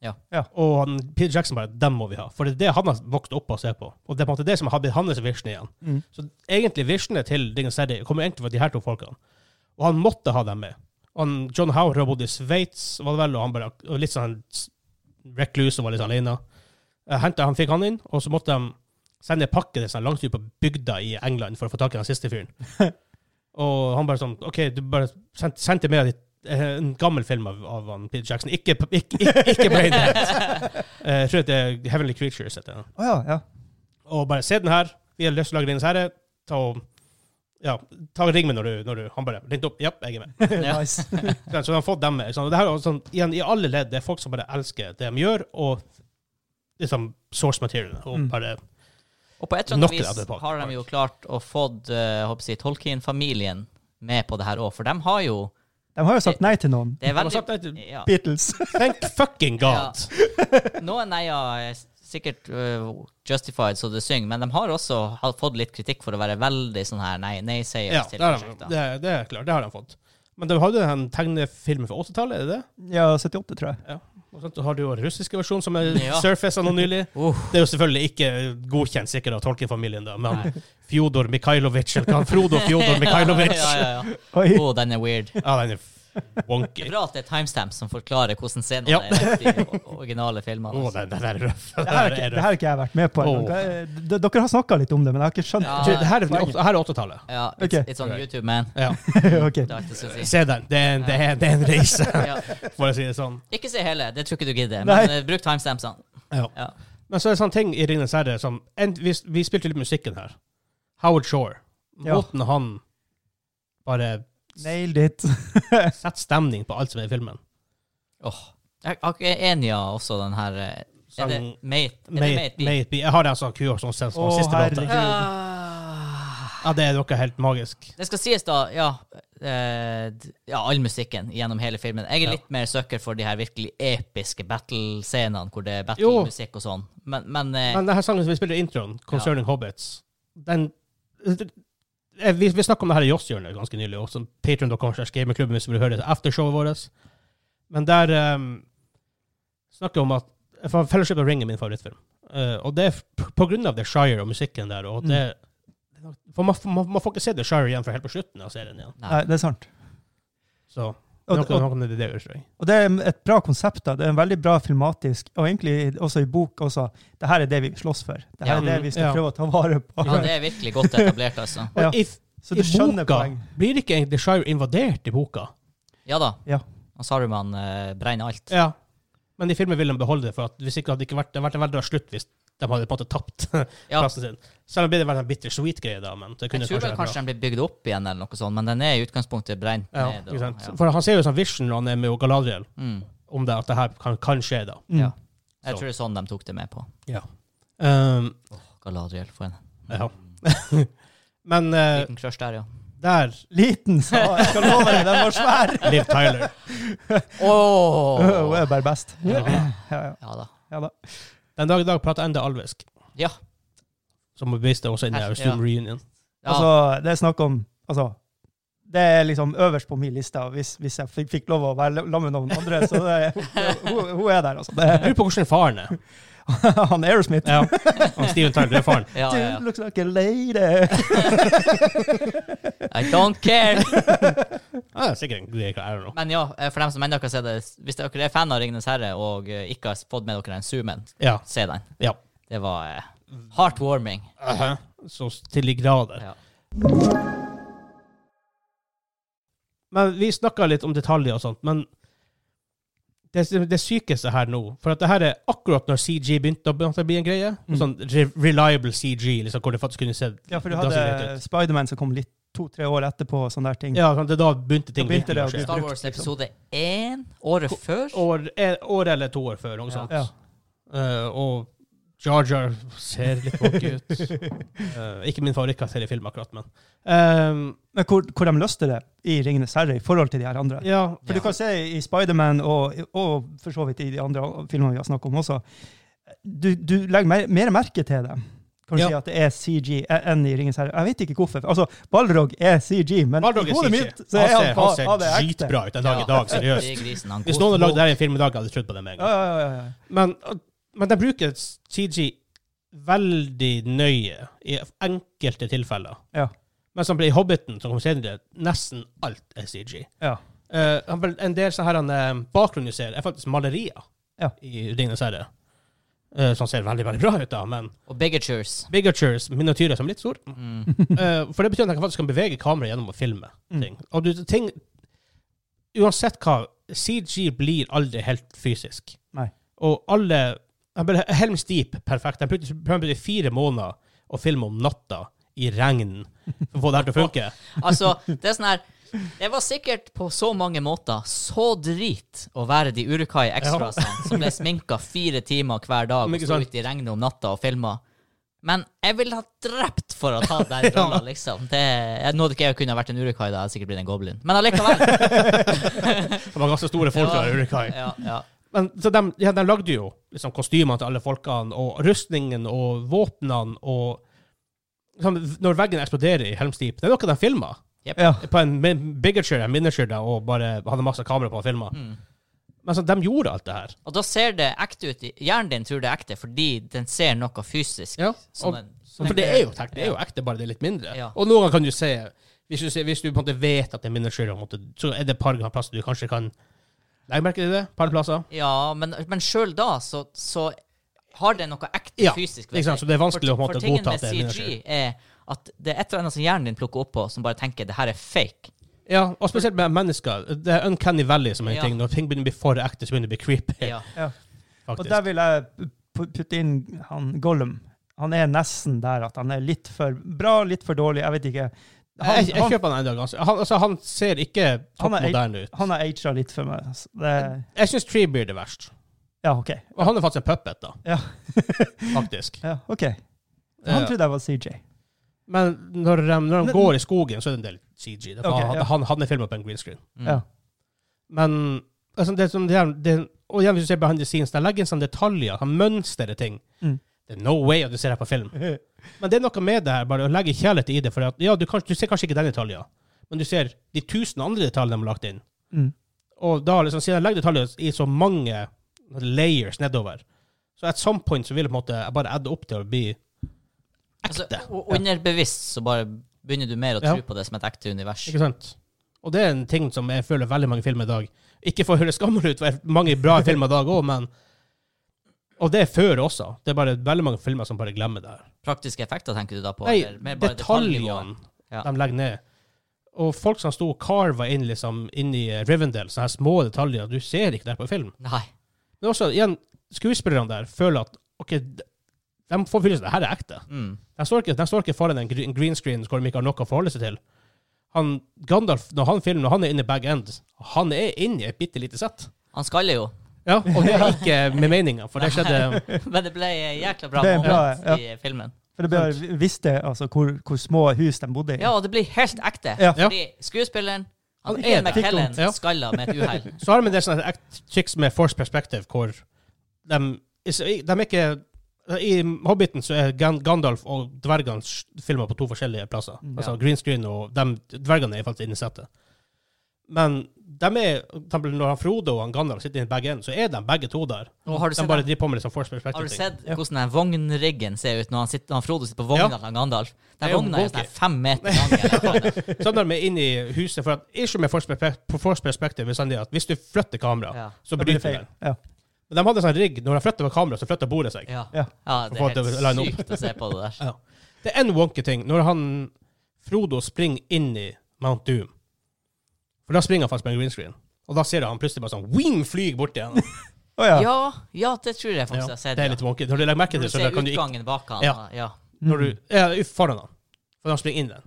S2: Ja.
S3: Ja.
S1: Og han, Peter Jackson bare Dem må vi ha. For det er det han har vokst opp og ser på. Og det er på en måte det som har blitt hans visjon igjen.
S3: Mm.
S1: Så egentlig visjonene til Ringenes herre kommer egentlig fra de her to folkene. Og han måtte ha dem med. Og han, John Howard har bodd i Sveits, var det vel, og han bare og litt sånn recluse og var litt sånn alene. Jeg hentet, han fikk han inn, og så måtte de sende en pakke til sånn langt ut på bygda i England for å få tak i den siste fyren. og han bare sånn OK, du bare sendte, sendte med ditt eh, en gammel film av, av han, Peter Jackson. Ikke, ikke, ikke, ikke Brain Dead. Eh, Jeg tror det er Heavenly Creatures. Heter den
S3: Å ja, ja.
S1: og bare se den her. Vi har lyst til å lage Ringenes herre. Ta og ja, ta og ring meg når du, når du Han bare ringte opp. Ja, jeg er med.
S2: Ja.
S3: Nice.
S1: Så han har fått dem med. ikke sant? Og det her er også sånn, igjen, I alle ledd det er folk som bare elsker det de gjør, og liksom source material. Og
S3: Mm.
S1: bare
S2: Og på et eller annet
S1: Nok er det på-
S2: vis har de jo klart å fått eh, håper jeg å si, Tolkien-familien med på det her òg, for de har jo
S3: De har jo sagt nei til noen.
S2: Det er
S1: Han har
S2: veldig
S1: sagt nei til
S2: ja,
S3: Beatles.
S1: Thank fucking God!
S2: Noen neier er sikkert eh, justified så det synger, men de har også ha- fått litt kritikk for å være veldig sånn her nei, nei sier
S1: Ja,
S2: til
S1: det, har de,
S2: prosjekter.
S1: det, det er klart. Det har de fått. Men de hadde den tegnefilmen fra 80-tallet, er det det?
S3: Ja, 78, tror jeg.
S1: Og sånt, så har du jo den russiske versjonen som er
S2: Ja.
S1: surfacet nå nylig.
S2: Uh.
S1: Det er jo selvfølgelig ikke godkjent sikkert av Tolkien-familien, da, men Fjodor Mikhailovic, eller hva han Frodo Fjodor Mikhailovic
S2: ja, ja, ja.
S3: Oi.
S2: Å, den er weird.
S1: Ja, den er f-
S2: Det
S1: wonky.
S2: er bra at det er timestamps som forklarer hvordan scenene
S1: Ja.
S2: er i de o- originale filmene.
S1: Å,
S2: Altså.
S1: den, den er røff.
S3: Det her, er ikke, det her har ikke jeg vært med på.
S1: Åh.
S3: ennå. Det- d- Dere har snakka litt om det, men jeg har ikke skjønt
S2: Ja.
S1: Du, det her er,
S3: Ah, Poenget.
S1: det her er 80-tallet.
S2: Ja, it's,
S3: Ok.
S2: it's on YouTube, man.
S1: Ja.
S3: Ok.
S2: Det er alt jeg skal si.
S1: Se den. Det er, en- det, er, det er en reise,
S2: Ja.
S1: for å si det sånn.
S2: Ikke se hele, det tror ikke du gidder.
S3: Nei.
S2: Men eh, bruk timestampsene.
S1: Ja.
S2: Ja.
S1: Men så er det sånne ting i Ringenes herre som en, vi, vi spilte litt musikken her. Howard Shore.
S3: Ja.
S1: Måten han bare
S3: Nailed it.
S1: setter stemning på alt som er i filmen.
S2: Jeg har ikke Enia også, den her eh, Er det
S1: Sang-
S2: Mate? Er
S1: May
S2: det
S1: it,
S2: Mate?
S1: may
S2: Mate.
S1: it be. Jeg har altså den som kur som som
S3: Å,
S1: siste låta.
S3: herregud.
S2: Ah.
S1: Ja, det er noe helt magisk.
S2: Det skal sies, da, ja, eh, d- ja All musikken gjennom hele filmen. Jeg er litt mer sucker for de her virkelig episke battle-scenene hvor det er
S1: Jo.
S2: battle-musikk og sånn. Men, men, eh,
S1: Men denne sangen som vi spiller i introen, 'Concerning Hobbits', den Eh, Vi, vi snakka om det her i Joss-hjørnet ganske nylig, også patreon.com slash gamingklubben hvis du vil høre det aftershowet vårt. Men der um, snakker vi om at for Fellowship of the Ring er min favorittfilm. Eh, og det er p- på grunn av The Shire og musikken der. Og det, for man, man, man får ikke se The Shire igjen før helt på slutten av serien igjen.
S2: nei.
S3: Nei, det er sant.
S1: Så
S3: Og,
S1: noe,
S3: og,
S1: noe med det, det, tror jeg.
S3: og det er et bra konsept. da. Det er en veldig bra filmatisk, og egentlig også i bok også. Det her er det vi slåss for. Det her
S2: Ja.
S3: er det vi
S1: Ja.
S3: skal prøve å ta vare på.
S2: Ja, det er virkelig godt etablert, altså.
S1: Og
S3: Ja.
S1: i,
S3: Så du
S1: i
S3: skjønner
S1: boka
S3: poeng.
S1: blir ikke egentlig The Shire invadert i boka.
S2: Ja da.
S3: Ja.
S2: Og Saruman eh, brenner alt.
S1: Ja. Men i filmen ville de beholde det, for at hvis ikke hadde det ikke vært, det hadde vært en veldig bra slutt hvis de hadde på en måte tapt
S2: Ja.
S1: plassen sin. Selv om det ble en bitter sweet greie, da. Men det
S2: Jeg
S1: kunne
S2: tror
S1: kanskje
S2: vel
S1: vært
S2: kanskje
S1: bra.
S2: den blir bygd opp igjen, eller noe sånt, men den er i utgangspunktet brent
S1: Ja,
S2: ned.
S1: ikke sant?
S2: ja.
S1: For han ser jo sånn vision når han er med Galadriel,
S2: Mm.
S1: om det, at det her kan, kan skje, da.
S3: Mm.
S2: Ja. Jeg
S1: Så.
S2: tror det er sånn de tok det med på.
S1: Um,
S2: Galadriel for en
S1: ja. men eh,
S2: liten crush der, ja.
S1: der
S3: Liten, sa jeg. jeg. Skal love deg, den var svær!
S1: Liv Tyler.
S3: Hun
S2: Åh!
S3: er bare best. Ja, ja,
S2: Ja da.
S3: ja da.
S1: Den dag i dag prater enda alvisk,
S2: Ja.
S1: som beviste også i den der
S2: Her-
S1: Zoom reunion.
S2: ja.
S3: Altså, det er snakk om Altså, det er liksom øverst på min liste hvis, hvis jeg fikk, fikk lov å være sammen med noen andre. Så det, er- hun, hun er der, altså.
S1: Jeg
S3: Det,
S1: lurer på hvordan faren er.
S3: er- han Aerosmith.
S1: Ja. Og Steven Tyler det er faren.
S2: ja, ja, ja.
S3: Dude, looks like a lady.
S2: I don't care!
S1: Ja, sikkert en greie, I don't know.
S2: Men ja, eh, for dem som ennå ikke har sett det, hvis dere er fan av Ringenes herre og eh, ikke har fått med dere den zoomen,
S1: Ja.
S2: se den.
S1: ja.
S2: Det var eh, heartwarming.
S1: Så til de grader.
S2: Ja.
S1: Men vi snakka litt om detaljer og sånt, men det, det sykeste her nå For at det her er akkurat når CG begynte å begynte å bli en greie.
S3: Mm.
S1: Sånn re reliable CG, liksom, hvor det faktisk kunne se
S3: Ja, for du
S1: det ser
S3: hadde
S1: greit ut.
S3: Spiderman som kom litt to-tre år etterpå og sånne der ting.
S1: Ja, sånn, det er da begynte ting
S3: Mm. Da begynte
S1: virkelig å
S3: det å
S1: skje.
S3: bli-
S2: Star
S3: brukt,
S2: Wars
S3: liksom.
S2: episode én, året før.
S1: År, eh, år eller to år før, noe sånt.
S3: Ja.
S1: Eh, og Jar Jar ser litt wonky ut. Eh, ikke min favorittkarakter i film, akkurat, men Ehm,
S3: Men hvor, hvor de løste det i Ringenes herre i forhold til de her andre.
S1: Ja.
S3: For du kan se i Spiderman og, og for så vidt i de andre filmene vi har snakket om også, du, du legger mer, mer merke til det. Kan du
S1: Ja.
S3: si at det er CG enn i Ringens herre? Jeg vet ikke hvorfor. Altså, Balrog er CG, men
S1: Balrog
S3: i
S1: er
S3: hodet
S1: CG.
S3: mitt så
S1: Han
S3: er
S1: ser,
S3: han,
S1: han
S3: faen- ja, det
S1: ser
S3: er ekte.
S1: dritbra ut en dag i dag, seriøst.
S2: Fytti Grisen, han
S1: Hvis
S2: god
S1: noen hadde
S2: små-
S1: lagd det her i en film i dag, hadde jeg trodd på det med en
S3: Ja,
S1: gang.
S3: ja, ja, ja.
S1: Men, men de bruker CG veldig nøye i enkelte tilfeller.
S3: Ja.
S1: Men som i Hobbiten, som kom senere, nesten alt er CG.
S3: Ja.
S1: Eh, han vel- en del sånne her, eh, bakgrunn du ser, er faktisk malerier
S3: Ja.
S1: i Ringenes herre. Eh, som ser veldig veldig bra ut, da, men
S2: Og bigatures.
S1: bigatures, miniatyrer, som er litt store.
S2: Mm.
S1: Eh, for det betyr at jeg faktisk kan bevege kameraet gjennom å filme
S3: Mm.
S1: ting. Og du, ting Uansett hva, CG blir aldri helt fysisk.
S3: Nei.
S1: Og alle jeg bare- Helms Deep, perfekt. Jeg brukte, jeg brukte fire måneder å filme om natta i regn for å få det her til å funke.
S2: Altså, det er sånn her Det var sikkert på så mange måter så drit å være de Urukai Extrasene som ble sminka fire timer hver dag
S1: Men
S2: og
S1: ikke
S2: sto
S1: sant?
S2: ute i regnet om natta og filma. Men jeg ville ha drept for å ta den rolla, liksom. Det, jeg- nå hadde ikke jeg kunne ha vært en Urukai, da hadde jeg sikkert blitt en goblin. Men allikevel.
S1: Det var ganske store folk fra
S2: Ja.
S1: Urukai.
S2: Ja, ja.
S1: Men så de, ja, de lagde jo liksom, kostymene til alle folkene, og rustningen og våpnene og liksom, Når veggen eksploderer i Helms Deep, det er noe de filma.
S2: Jep.
S3: Ja.
S1: på en mi- bigature, en miniature, da, og bare hadde masse kamera på og filma.
S2: Mm.
S1: Men så de gjorde alt det her.
S2: Og da ser det ekte ut. i- Hjernen din tror det er ekte fordi den ser noe fysisk.
S1: Ja,
S2: Som
S1: og-
S2: en, som en
S1: For det
S2: greie.
S1: er jo, tek- det er jo ekte, bare det er litt mindre.
S2: Ja.
S1: Og noen ganger kan du se Hvis du, ser- hvis du på en måte vet at det er miniature, på en måte, så er det et par plasser du kanskje kan legge merke til det. Par plasser.
S2: Ja, men, men sjøl da, så, så har det noe ekte
S1: Ja,
S2: fysisk
S1: ikke sant? Så det er vanskelig å på en måte
S2: for tingen
S1: godta at
S2: med
S1: det er
S2: CG er at det er et eller annet som hjernen din plukker opp på, som bare tenker det her er fake.
S1: Ja, og spesielt med mennesker. Det er uncanny valley som er en
S2: Ja.
S1: ting. Når ting begynner å bli for ekte, så begynner det å bli creepy.
S2: Ja.
S3: Og
S1: faktisk.
S3: der vil jeg pu- putte inn han Gollum. Han er nesten der at han er litt for bra, litt for dårlig, jeg vet ikke. Han,
S1: jeg, jeg
S3: han,
S1: kjøper han ennå. Altså. Han, altså, han ser ikke
S3: Han er
S1: topp moderne ut.
S3: han har aget litt for meg. så Det,
S1: Jeg syns Treebeard er verst.
S3: ja, OK.
S1: Og han er faktisk en puppet, da.
S3: Ja.
S1: faktisk.
S3: Ja, ok.
S1: Ja.
S3: Han trodde jeg var CJ.
S1: Men når de, når de
S3: Men-
S1: går i skogen, så er det en del CG. Det er for
S3: Ok,
S1: han,
S3: ja.
S1: han, han er filma på en green screen.
S2: Mm.
S3: Ja.
S1: Men altså, det er sånn, det er, det, og igjen, hvis du ser behind the scenes, de legger inn sånne detaljer. sånn Han mønstrer ting.
S3: Mm.
S1: Det er no way at du ser det på film. Men det er noe med det her, bare å legge kjærlighet i det. For at, ja, du, kanskje- du ser kanskje ikke den detaljen, men du ser de tusen andre detaljene de har lagt inn.
S3: Mm.
S1: Og da liksom, siden jeg legger detaljer i så mange layers nedover, så at some point så vil jeg på en måte jeg bare adde opp til å bli
S2: Altså,
S1: ekte.
S2: og underbevisst så bare begynner du mer å
S1: Ja.
S2: tro på det som et ekte univers.
S1: Ikke sant? Og det er en ting som jeg føler veldig mange filmer i dag Ikke for å høre skammel ut, for det er mange bra filmer i dag òg, men Og det er før også. Det er bare veldig mange filmer som bare glemmer det her.
S2: Praktiske effekter tenker du da på?
S1: Nei,
S2: eller mer bare detaljnivået?
S1: detaljene
S2: Ja.
S1: de legger ned. Og folk som sto og carva inn liksom inn i eh, Rivendell, sånne her små detaljer, du ser ikke det her på film.
S2: Nei.
S1: Men også, igjen, skuespillerne der føler at OK, de, de får følelsen av det her er ekte.
S2: Mm.
S1: De står ikke, de står ikke foran en gre- en green screen hvor de ikke har noe å forholde seg til. Han, Gandalf, når han filmer, når han er inne i bag end, han er inne i et bitte lite sett.
S2: Han skaller jo,
S1: Ja, og det er ikke med meninga, for det skjedde
S2: men det ble jækla bra
S3: Det er bra,
S2: moment
S3: ja.
S2: i filmen.
S3: For det bare visste altså hvor, hvor små hus de bodde i.
S2: Ja, og det blir helt ekte.
S3: Ja.
S2: Fordi skuespilleren, han
S1: Han er
S2: Ian
S1: det.
S2: McKellen,
S1: Ja.
S2: skalla med et uhell.
S1: Så har de en del sånne act- triks med force perspective, hvor de, de er ikke I Hobbiten så er Gan- Gandalf og dvergene s- filmer på to forskjellige plasser.
S3: Mm.
S1: Altså green screen, og de, dvergene er faktisk inne i settet. Men de er, for eksempel når han Frodo og han Gandalf sitter inne begge enden, så er de begge to der.
S2: Og har du
S1: De
S2: sett
S1: bare driver på med liksom force
S2: Har du
S1: perspective-ting.
S2: sett hvordan den vognriggen ser ut når han, sitter, han Frodo sitter på vogna
S1: Ja.
S2: til han Gandalf?
S1: Det
S2: Den
S1: er jo
S2: vogna er jo sånn
S1: wonky.
S2: her fem meter lang. eller noe sånt.
S1: Sånn når de er inne i huset, for at ikke med force perspective, på force perspective er sånn det at hvis du flytter kameraet,
S2: Ja.
S1: så
S3: Da blir
S1: bryter
S3: det
S1: du
S3: feil.
S1: den.
S3: Ja.
S1: Men de hadde sånn rigg, når de flytter med kameraet, så flytter bordet seg.
S2: Ja.
S3: Ja.
S2: ja, det
S1: For å
S2: er
S1: få det
S2: helt
S1: line
S2: sykt å se på det der.
S1: Ja. Det er en wonky ting når han Frodo springer inn i Mount Doom. For da springer han faktisk på en green screen. Og da ser du han plutselig bare sånn wing flyr bort igjen.
S3: Å ja.
S2: Ja, ja, det tror jeg
S1: Ja,
S2: faktisk jeg har sett.
S1: det er litt wonky. Når du legger merke til
S2: Når du
S1: det, så da
S2: ser
S1: kan du ikke
S2: utgangen bak han.
S1: Ja.
S2: Ja.
S1: når
S3: Mm.
S1: du, ja, ut foran han. For han springer inn i den.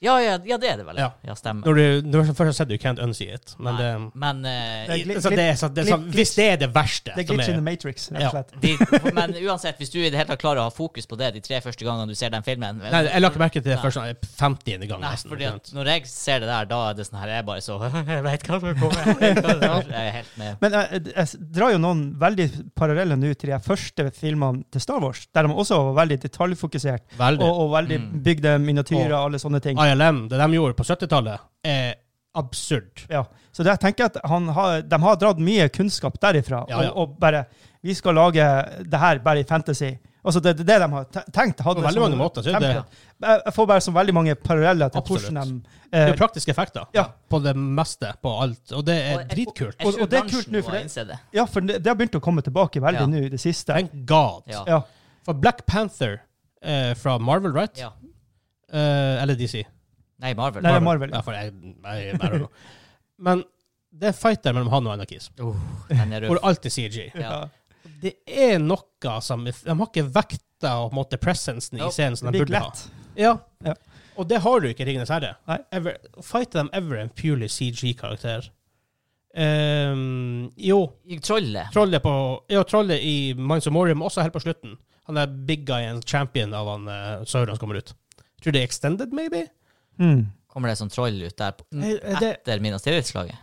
S2: Ja, ja, ja, det er det vel.
S1: Ja.
S2: Ja, stemmer.
S1: Når du, når du først har sett det, you can't unsee it. Men det,
S2: Nei, Men, eh,
S3: Det er gli-
S1: altså, det er sånn, det er sånn, Hvis det er det verste
S3: Det er
S1: som
S3: glitch in the
S1: er
S3: matrix, rett og slett.
S2: de, men uansett, hvis du i det hele tatt klarer å ha fokus på det de tre første gangene du ser den filmen
S1: Nei, jeg la ikke merke til det
S2: Nei.
S1: først sånn 50. gang.
S2: Nei,
S1: nesten,
S2: fordi
S1: ikke
S2: at
S1: sant?
S2: når jeg ser det der, da er det sånn her Jeg er bare så Jeg veit hva som kommer. Jeg vet hva som kommer. Jeg er helt med.
S3: Men jeg, jeg s- drar jo noen veldig paralleller nå til de her første filmene til Star Wars, der de også var veldig detaljfokusert, og,
S1: Veldig.
S3: og veldig
S2: Mm.
S3: bygde miniatyrer og alle sånne ting.
S1: ILM, det de gjorde på 70-tallet, er absurd.
S3: Ja. Så der tenker jeg at han har, de har dratt mye kunnskap derifra,
S1: Ja, ja.
S3: Og, og bare Vi skal lage det her bare i fantasy. Altså det, det er det de har te- tenkt. Hadde
S1: På veldig
S3: som
S1: mange måter. Så er det,
S3: template. Jeg jeg får bare så veldig mange paralleller til
S1: Absolutt.
S3: hvordan de
S1: det er
S3: eh,
S1: praktiske effekter.
S3: ja,
S1: på det meste, på alt. Og det er
S2: Og jeg-
S1: dritkult.
S2: Jeg
S3: Og-
S2: tror
S3: og det er kult
S2: bransjen
S3: nå, for
S2: må
S3: det-
S2: innse det.
S3: ja, for det, det har begynt å komme tilbake veldig
S2: Ja.
S3: nå i det siste.
S1: Thank God.
S2: Ja.
S3: Ja.
S1: For Black Panther eh, fra Marvel, right?
S2: Ja.
S1: Eh, eller DC.
S2: Nei, Marvel.
S3: Nei, det er Marvel.
S1: Ja, for jeg, jeg, jeg don't know. Men det er fight der mellom han og Anakis,
S2: Oh, den er
S1: hvor
S2: røff.
S1: alt er CG.
S2: Ja.
S3: Ja.
S1: Det er noe som De har ikke vekta og på en måte presensen i
S2: Nope.
S1: scenen som
S3: Det
S1: de
S3: blir
S1: burde ha.
S3: glatt.
S1: Ja.
S3: Ja.
S1: Og det har du ikke i Ringenes herre.
S3: Nei.
S1: Ever, fight them ever en purely CG-karakter. Ehm, jo,
S2: Trollet.
S1: Trollet på Ja, trollet i Minds of Morium også helt på slutten. Han er big guy and champion av han uh, Sauron som kommer ut. Tror det er extended, maybe?
S3: Mm.
S2: Kommer det som troll ut der på,
S1: Eh, eh, det-
S2: etter Minas Tirith-slaget?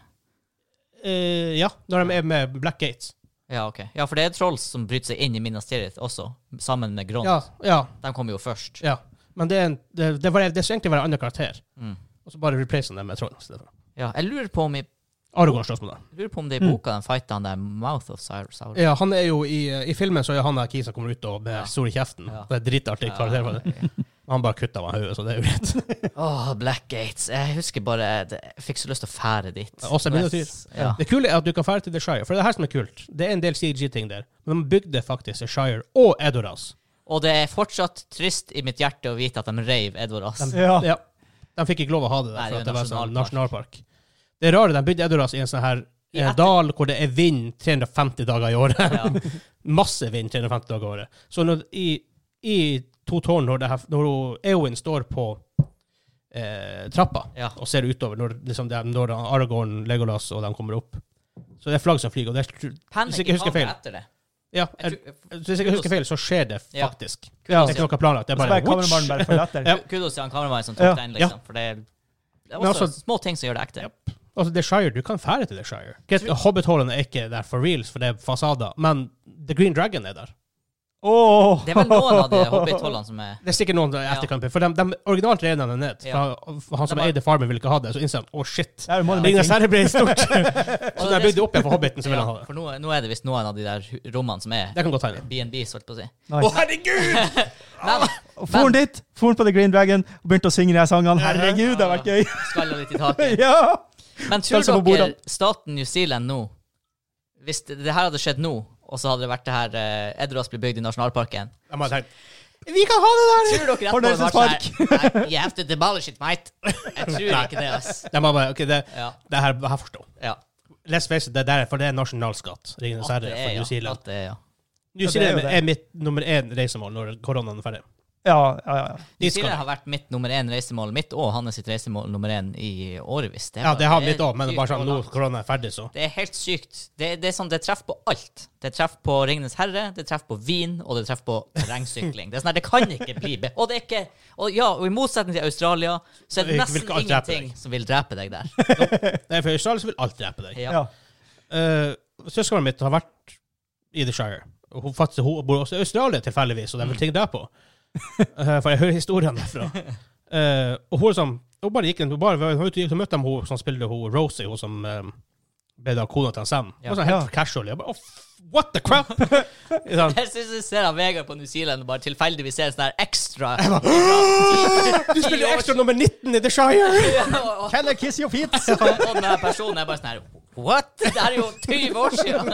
S1: Eh, ja, når de er med Black Gates.
S2: Ja, ok. Ja, for det er troll som bryter seg inn i Minas Tirith også, sammen med Gron.
S1: Ja, ja,
S2: De kommer jo først.
S1: ja. Men det, er en, det, det, var, det skal egentlig være en annen karakter,
S2: Mm.
S1: og så bare replace han dem med troll. i stedet for.
S2: Ja, jeg lurer på om i
S1: Aragorn slåss mot dem.
S2: jeg lurer på om det er i
S3: Mm.
S2: boka den fighter han der Mouth of Saur- Sauron.
S1: Ja, eh, han er jo i, I filmen så er han der kisen som kommer ut og med
S2: Ja.
S1: stor i kjeften.
S2: Ja.
S1: Det er dritartig karakter. for det. Han bare kutta meg i hodet, så det er jo greit.
S2: Åh, Black Gates. Jeg husker bare det, Jeg fikk så lyst til å fære dit.
S1: Ja, også en miniatyr.
S2: Ja.
S1: Det kule er at du kan fære til The Shire, for det er det her som er kult. Det er en del CG-ting der, men de bygde faktisk The Shire og Edoras.
S2: Og det er fortsatt trist i mitt hjerte å vite at de reiv Edvard Ass.
S1: De,
S3: Ja.
S1: ja, de fikk ikke lov å ha det der,
S2: Nei,
S1: for
S2: det
S1: at
S2: er
S1: det var sånn
S2: nasjonalpark.
S1: nasjonalpark. Det er rare, de bygde Edoras i en sånn her
S2: I
S1: eh,
S2: etter-
S1: dal hvor det er vind 350 dager i året.
S2: Ja.
S1: Masse vind 350 dager i året. Så når, i, i to tårn, når, det her, når hun- Eowyn står på eh, trappa
S2: Ja.
S1: og ser utover, når, liksom, det er- når Aragorn, Legolas og de kommer opp Så det er flagg som flyr, og det er, Hvis
S2: Panic
S1: jeg ikke
S2: i
S1: husker
S2: faen
S1: feil.
S2: etter det.
S1: ja, er,
S2: Jeg tror-
S1: hvis jeg ikke husker feil, så skjer det
S2: Ja.
S1: faktisk.
S3: Ja.
S1: Det er ikke noe planlagt. Det
S3: Og
S1: er
S3: så
S1: bare
S3: bare kameramannen bare for latter.
S1: Ja.
S2: Kudos til han kameramannen som tok
S3: Ja.
S2: den, liksom. For det er, det er
S1: Men
S2: også
S1: altså-
S2: små ting som gjør det ekte.
S1: Ja. Altså, The Shire, du kan fære til The Shire. Greit, Hobbit-hullene er ikke der for reals, for det er fasader, men The Green Dragon er der.
S3: Åh!
S2: Det er vel noen av de hobbithullene som er
S1: Det er sikkert noen i etterkant, for de, de originalt rev de det ned. For
S2: Ja.
S1: han, han som
S2: De har-
S1: eide farmen, ville ikke ha det, så innså de å, shit.
S3: Det er jo Money
S1: Ringnes
S3: Making.
S1: herre ble stort.
S2: Og
S1: Så da jeg bygde opp igjen for Hobbiten, så ville
S2: ja,
S1: han ha det.
S2: For nå, nå er det visst noen av de der hu- rommene som er
S1: Det kan godt hende.
S2: B&Bs, holdt på å si.
S3: Nice.
S1: Å, herregud!
S2: Men
S3: Og for han dit, for han på The Green Dragon og begynte å synge de her sangene. Herregud, det har vært gøy!
S2: skalla litt i taket.
S3: ja!
S2: Men tror
S3: Pølse
S1: liksom
S3: på
S2: dere
S3: bordene.
S2: staten New Zealand nå Hvis det, det her hadde skjedd nå, og så hadde det vært det her eh, Edras ble bygd i nasjonalparken
S1: Jeg må ha tenkt, vi kan ha det der!
S2: Tror dere at det var sånn her "Nei, You have to demolish it, mate. Jeg tror ikke det, ass.
S1: De må bare, ok, det,
S2: Ja.
S1: det her, det her forstår.
S2: ja.
S1: Let's face it, det der, er- for det er nasjonalskatt. Ringnes
S2: At
S1: herre
S2: det er,
S1: for
S2: ja.
S1: New Zealand.
S2: At det er, ja.
S1: New
S3: Ja, det er jo
S1: Zealand
S3: det.
S1: er mitt nummer én reisemål når koronaen er ferdig.
S3: Ja, ja, ja.
S2: New
S1: Dit skal
S2: Zealand
S1: jeg.
S2: har vært mitt nummer én reisemål, mitt og hans sitt reisemål nummer én i årevis.
S1: Ja, det har mitt
S2: er
S1: òg, men bare
S2: sykt
S1: sånn nå
S2: og langt.
S1: korona er ferdig, så.
S2: Det er helt sykt. Det, det er sånn, det treffer på alt. Det treffer på Ringenes herre, det treffer på vin, og det treffer på terrengsykling. Det er sånn her, det kan ikke bli be... Og det er ikke Og ja, og i motsetning til Australia, så er det
S1: Vil- vil
S2: nesten
S1: ikke alt drepe
S2: ingenting som vil drepe deg der.
S1: Nei, for i Australia så vil alt drepe deg.
S2: Ja.
S3: ja.
S1: Uh, Søskenbarnet mitt har vært i The Shire. Og Hun, faktisk, hun bor også i Australia tilfeldigvis, og det er
S2: Mm.
S1: vel ting der på. Eh, for jeg hører historiene derfra. Eh, og hun liksom Hun bare gikk inn hun bare, hun var ute og gikk, så møtte de hun som spilte hun Rosie, hun som eh, ble da kona til han Sam. Hun
S2: Ja.
S1: var sånn helt casual. Jeg bare, «Å, f- what the crap? Sånn,
S2: Jeg syns jeg ser han Vegard på New Zealand og bare tilfeldigvis ser en sånn her ekstra
S1: du spiller ekstra nummer 19 i The Shire!
S2: Og
S3: Can I kiss your feet?
S2: og den her personen er bare sånn her What?! Det her er jo 20 år siden!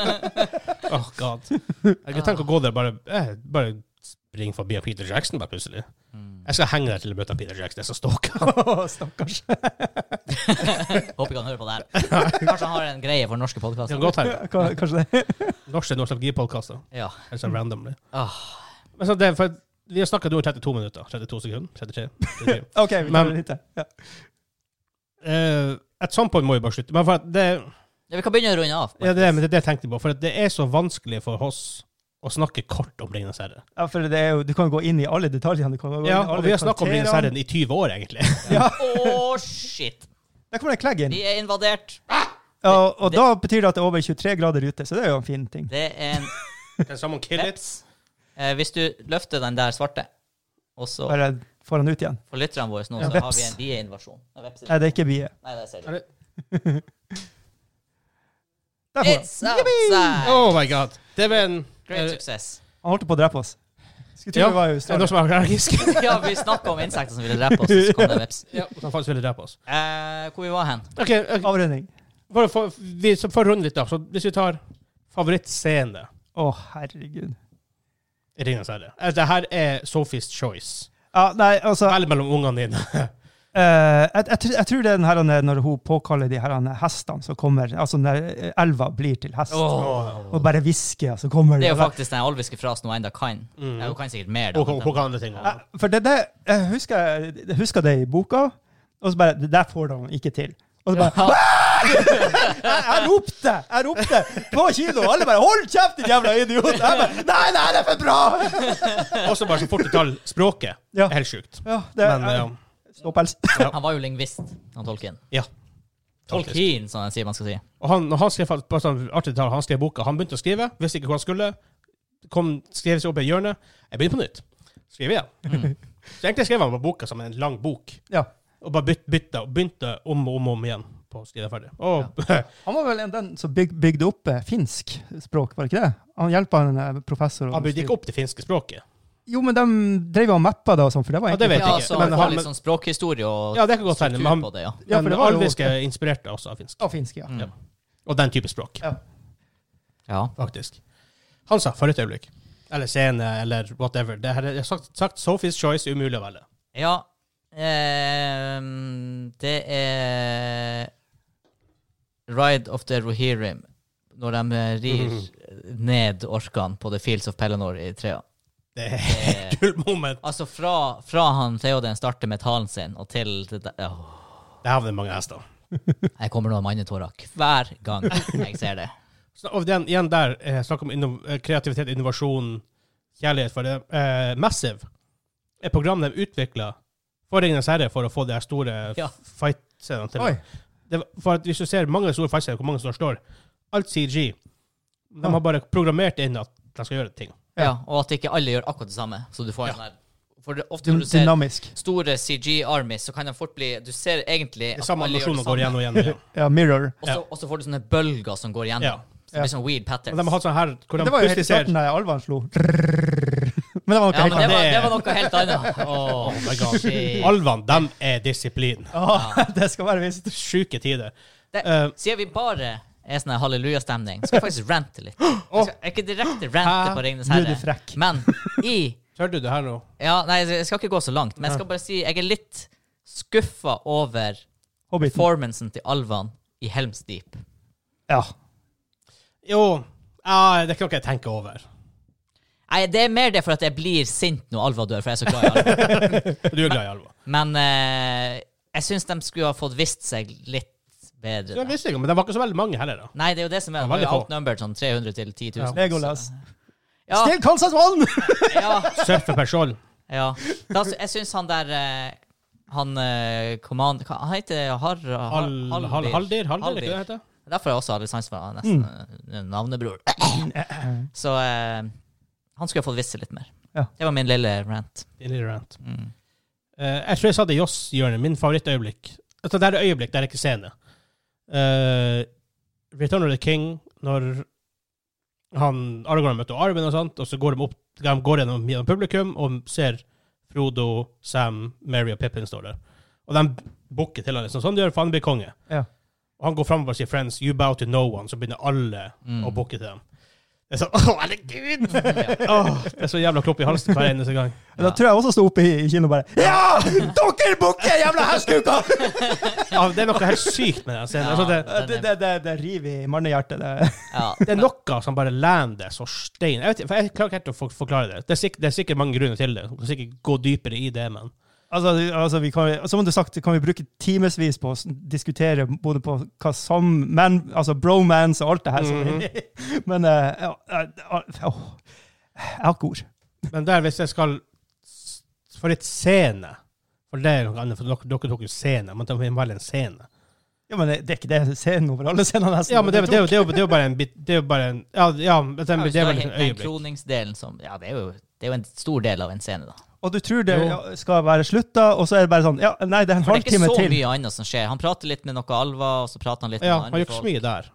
S1: Åh, god. Jeg kan tenke å gå der og bare, eh, bare springe forbi av Peter Jackson bare plutselig.
S2: Mm.
S1: Jeg skal henge der til jeg møter Peter Jackson. Jeg skal stalke han.
S3: Åh, Stakkars.
S2: Håper ikke han hører på det her. Kanskje han har en greie for norske
S1: Det kan
S2: podkaster.
S1: godt hende.
S3: K- Kanskje det.
S1: Norske nostalgipodkaster.
S2: Ja.
S1: Helt sånn randomly.
S2: Åh.
S1: Men så det, er for, at vi har snakka nå i 32 minutter. 32 sekunder. 33. 33.
S3: OK, vi
S1: Men-
S3: tar det litt til. Ja.
S1: Eh, at some point må vi bare slutte. Men for at det,
S2: Ja, Vi kan begynne å runde av.
S1: ja, det, men det, er det jeg tenkte på. For at det er så vanskelig for oss å snakke kort om Ringenes herre.
S3: Ja, for det er jo, du kan gå inn i alle detaljene. Du kan
S1: Ja,
S3: gå inn i
S1: og
S3: alle
S1: vi har snakka om Ringenes herre i
S3: karakterene.
S1: 20 år, egentlig.
S2: Åh, shit.
S3: Der kommer det en klegg inn.
S2: Vi er invadert.
S3: Ja, og
S2: det-
S3: da betyr det at det er over 23 grader ute, så det er jo en fin ting.
S2: Det er en
S1: Kan someone kill it?
S2: veps. Eh, hvis du løfter den der svarte, og så
S3: Bare får han ut igjen.
S2: for lytterne våre nå,
S3: Ja,
S2: så har vi
S3: veps.
S2: en bieinvasjon. Nei, veps er
S3: Nei,
S2: det.
S3: det er ikke bie.
S2: Nei, det ser
S1: Er
S2: du.
S1: det-
S3: Der får han.
S2: It's outside.
S1: Oh my god. Det var en
S2: Great
S1: eh,
S2: success.
S3: Han holdt på å drepe oss. Skulle tro
S1: Ja,
S3: det var i
S1: Er det noen
S3: Australia.
S1: som er allergisk?
S2: Ja, vi snakka om insekter som ville drepe oss, og så kom det en veps.
S1: ja. Som faktisk ville drepe oss.
S2: Eh, hvor vi var hen?
S1: Ok, ok.
S3: Avrunding.
S1: Bare for, vi, så for å runde litt av, så hvis vi tar favorittscene
S3: Å, herregud.
S1: i Ringenes herre Altså, Det her er Sophie's Choice.
S3: Ja, nei, altså
S1: Velg mellom ungene dine.
S3: eh, jeg, jeg, tror- jeg tror det er den her han er når hun påkaller de her han er hestene som kommer, altså når eh, elva blir til hest,
S2: Åh.
S3: og bare hvisker, så kommer
S2: Det
S3: de.
S2: er jo faktisk den alviske frasen hun enda kan.
S1: Mm.
S2: Ja, hun kan sikkert mer. Da,
S1: Og
S2: men-
S1: hva andre ting.
S3: Ja, For det, det, jeg, husker, jeg husker det i boka, og så bare Det der får de ikke til. Og så bare
S2: Ja.
S3: Jeg, jeg ropte! Jeg ropte på kino! Alle bare 'Hold kjeft, din jævla idiot!' Jeg bare 'Nei, nei, det er for bra!'
S1: Også bare så fort du tar språket.
S3: Ja.
S1: Helt sjukt.
S3: Ja, det
S1: Men
S3: er
S1: ja.
S3: Ståpels.
S2: Han var jo lingvist, han Tolkien.
S1: ja. Faktisk.
S2: Tolkien, som jeg sier man skal si.
S1: Og han, når han skrev, fakt- bare sånn artig detalj, han skrev boka. Han begynte å skrive, visste ikke hvor han skulle. Kom, skrev seg opp i et hjørne. Jeg begynner på nytt. Skriver igjen. Så egentlig skrev han bare boka som en lang bok,
S3: Ja.
S1: og bare byt, bytta og begynte om og om, og om igjen på å skrive ferdig. Og,
S3: Han var vel en den som byg, bygde opp eh, finsk språk, var det ikke det? Han hjelpa en eh, professor. å
S1: han bygde
S3: skrive-
S1: ikke opp det finske språket.
S3: Jo, men de drev og mappa da og sånn, for det var
S1: Ja, det
S3: egentlig
S1: vet
S2: Ja,
S1: jeg ikke.
S2: så
S1: Men
S2: han
S1: han-
S2: får litt sånn språkhistorie og
S1: Ja, det kan godt hende.
S2: struktur
S1: Men, han-
S2: på det, ja.
S3: Ja, for
S1: men
S3: det var jo-
S1: alvisk er inspirert også av finsk.
S3: Av finsk, ja.
S2: Mm.
S1: Og den type språk,
S2: ja.
S1: faktisk. Hansa, for et øyeblikk. Eller scene, eller whatever. Det her, er- jeg har sagt, sagt Sophie's Choice, umulig å velge.
S2: Ja. ehm, det er Ride of the Rohirrim, når de eh, rir
S1: Mhm.
S2: ned orkene på The Fields of Pelennor i trea.
S1: Det er et gull moment.
S2: Altså fra, fra han Theoden starter med talen sin, og til det der Åh,
S1: Det havner mange hester.
S2: Jeg kommer nå med mannetårer hver gang jeg ser det.
S1: Så, og den, igjen der, eh, snakk om inno- eh, kreativitet, innovasjon, kjærlighet for det. Eh, Massive er programmet de utvikla for Ringenes herre for å få de her store
S2: Ja.
S1: ja. fight-scenene til.
S3: Oi.
S1: Det, var- for at hvis du ser mange store fight-scener hvor mange som slår, alt CG. De
S3: Ja.
S1: har bare programmert inn at de skal gjøre ting.
S3: Ja.
S2: Ja, og at ikke alle gjør akkurat det samme. Så du får en
S1: Ja.
S2: sånn her For det, ofte når du ser
S3: Dynamisk.
S2: store CG-armies, så kan de fort bli Du ser egentlig
S1: De
S2: at
S1: samme
S2: alle gjør
S1: animasjonene
S2: det
S1: går igjen
S2: samme.
S1: og igjen. Og igjen.
S3: Ja, mirror.
S2: Og så, og så får du sånne bølger som går
S1: Ja.
S2: igjennom. Så det
S3: Ja.
S2: blir sånn weird
S1: Og
S2: patterns.
S1: de har hatt sånn her hvor de
S3: Det var jo helt i
S1: plutselig ser
S3: starten da alvene slo. Men det var
S2: ja, men
S3: noe helt
S2: det
S3: annet.
S2: var,
S1: det-
S2: det var noe helt annet. Oh,
S1: my God.
S2: shit.
S1: Alvene, de er disiplin.
S3: Ja, det skal være visst.
S1: Sjuke tider.
S2: Det-
S1: Eh,
S2: Siden vi bare er sånn her hallelujastemning, skal jeg faktisk rante litt. Jeg, skal, jeg er ikke direkte rante på Ringenes
S3: Nå er du
S2: herre,
S3: frekk.
S2: men i
S1: Tør du det her nå?
S2: Ja, nei, jeg skal ikke gå så langt, men jeg skal bare si jeg er litt skuffa over
S3: Hobbiten.
S2: performancen til alvene i Helms Deep.
S3: Ja.
S1: Jo, ja, det er ikke noe jeg tenker over.
S2: Nei, det er mer det for at jeg blir sint når Alva dør, for jeg er så glad i Alva.
S1: Du er glad i alver.
S2: Men eh, jeg syns de skulle ha fått visst seg litt bedre.
S1: Det
S2: da.
S1: visste jeg, men det var ikke så veldig mange heller, da.
S2: Nei, det er jo det som
S1: Det
S2: er. Det
S1: var
S2: er jo
S1: veldig få.
S2: outnumbered sånn 300 til 10 000.
S3: Legolas.
S2: Ja,
S3: Still calls us one!
S2: ja,
S1: Surfer per skjold.
S2: ja. Da, sy- jeg syns han der eh, Han eh, command... Hva han heter Har... Har-
S1: Hal, hal, hal, haldir? Haldir, er ikke det det heter?
S2: Derfor har jeg også alle sans for han, nesten
S1: Mm.
S2: eh, navnebror. Så eh, han skulle ha fått visst seg litt mer.
S3: Ja.
S2: Det var min lille rant.
S1: Din lille rant.
S2: Mm.
S1: Eh, jeg tror jeg sa det i Joss-hjørnet. Min favorittøyeblikk. Altså, det er et øyeblikk, det er ikke scene. Eh, Return of the King, når han Aragorn møter Arwen og sånt, og så går de opp de går gjennom gjennom publikum og ser Frodo, Sam, Mary og Pippin står der. Og de bukker til han liksom. Sånn de gjør, for han blir konge.
S3: Ja.
S1: Og han går fram og sier 'Friends, you bow to no one', så begynner alle
S2: Mm.
S1: å bukke til dem. Det er sånn Å, herregud! Åh, det er så jævla klopp i halsen hver eneste gang.
S3: Da tror jeg også sto oppe i kino og bare Ja! Dere bukker, jævla hestekuker!
S1: Ja, det er noe helt sykt med den scenen.
S2: Ja.
S1: Altså, det,
S3: Det, det, det, det river i mannehjertet. Det.
S2: Ja.
S1: det er noe som bare lander så stein. Jeg, vet, ikke, for jeg klarer ikke helt å for- forklare det. Det er, sikk- det er sikkert mange grunner til det. Du kan sikkert gå dypere i det, men
S3: Altså, vi- altså vi kan, som du har sagt, kan vi bruke timevis på å s- diskutere både på hva som men, altså bromance og alt det her. som vi- Men eh, ja, eh, eh, åh, Jeg har ikke ord.
S1: Men der, hvis jeg skal s- For et scene For det er noe annet, for dere, dere tok jo scene. Man tar vel en scene.
S3: Ja, men det, det er ikke det scenen over alle scener, nesten.
S1: Ja, men det, er- det, er jo- det, er jo- det er jo bare en bit Det er jo bare en Ja, ja men det, er- det er vel et
S2: Altså, Den
S1: øyeblikk.
S2: kroningsdelen som Ja, det er jo, det er jo en stor del av en scene, da.
S3: Og du tror det
S1: Jo.
S3: ja, skal være slutt, da, og så er det bare sånn Ja, nei, det er en
S2: For det er ikke
S3: halvtime
S2: så
S3: til.
S2: mye annet som skjer. Han prater litt med noe alver, og så prater han litt
S1: Ja,
S2: med
S1: han
S2: andre
S1: gjør ikke så
S2: folk.
S1: mye der.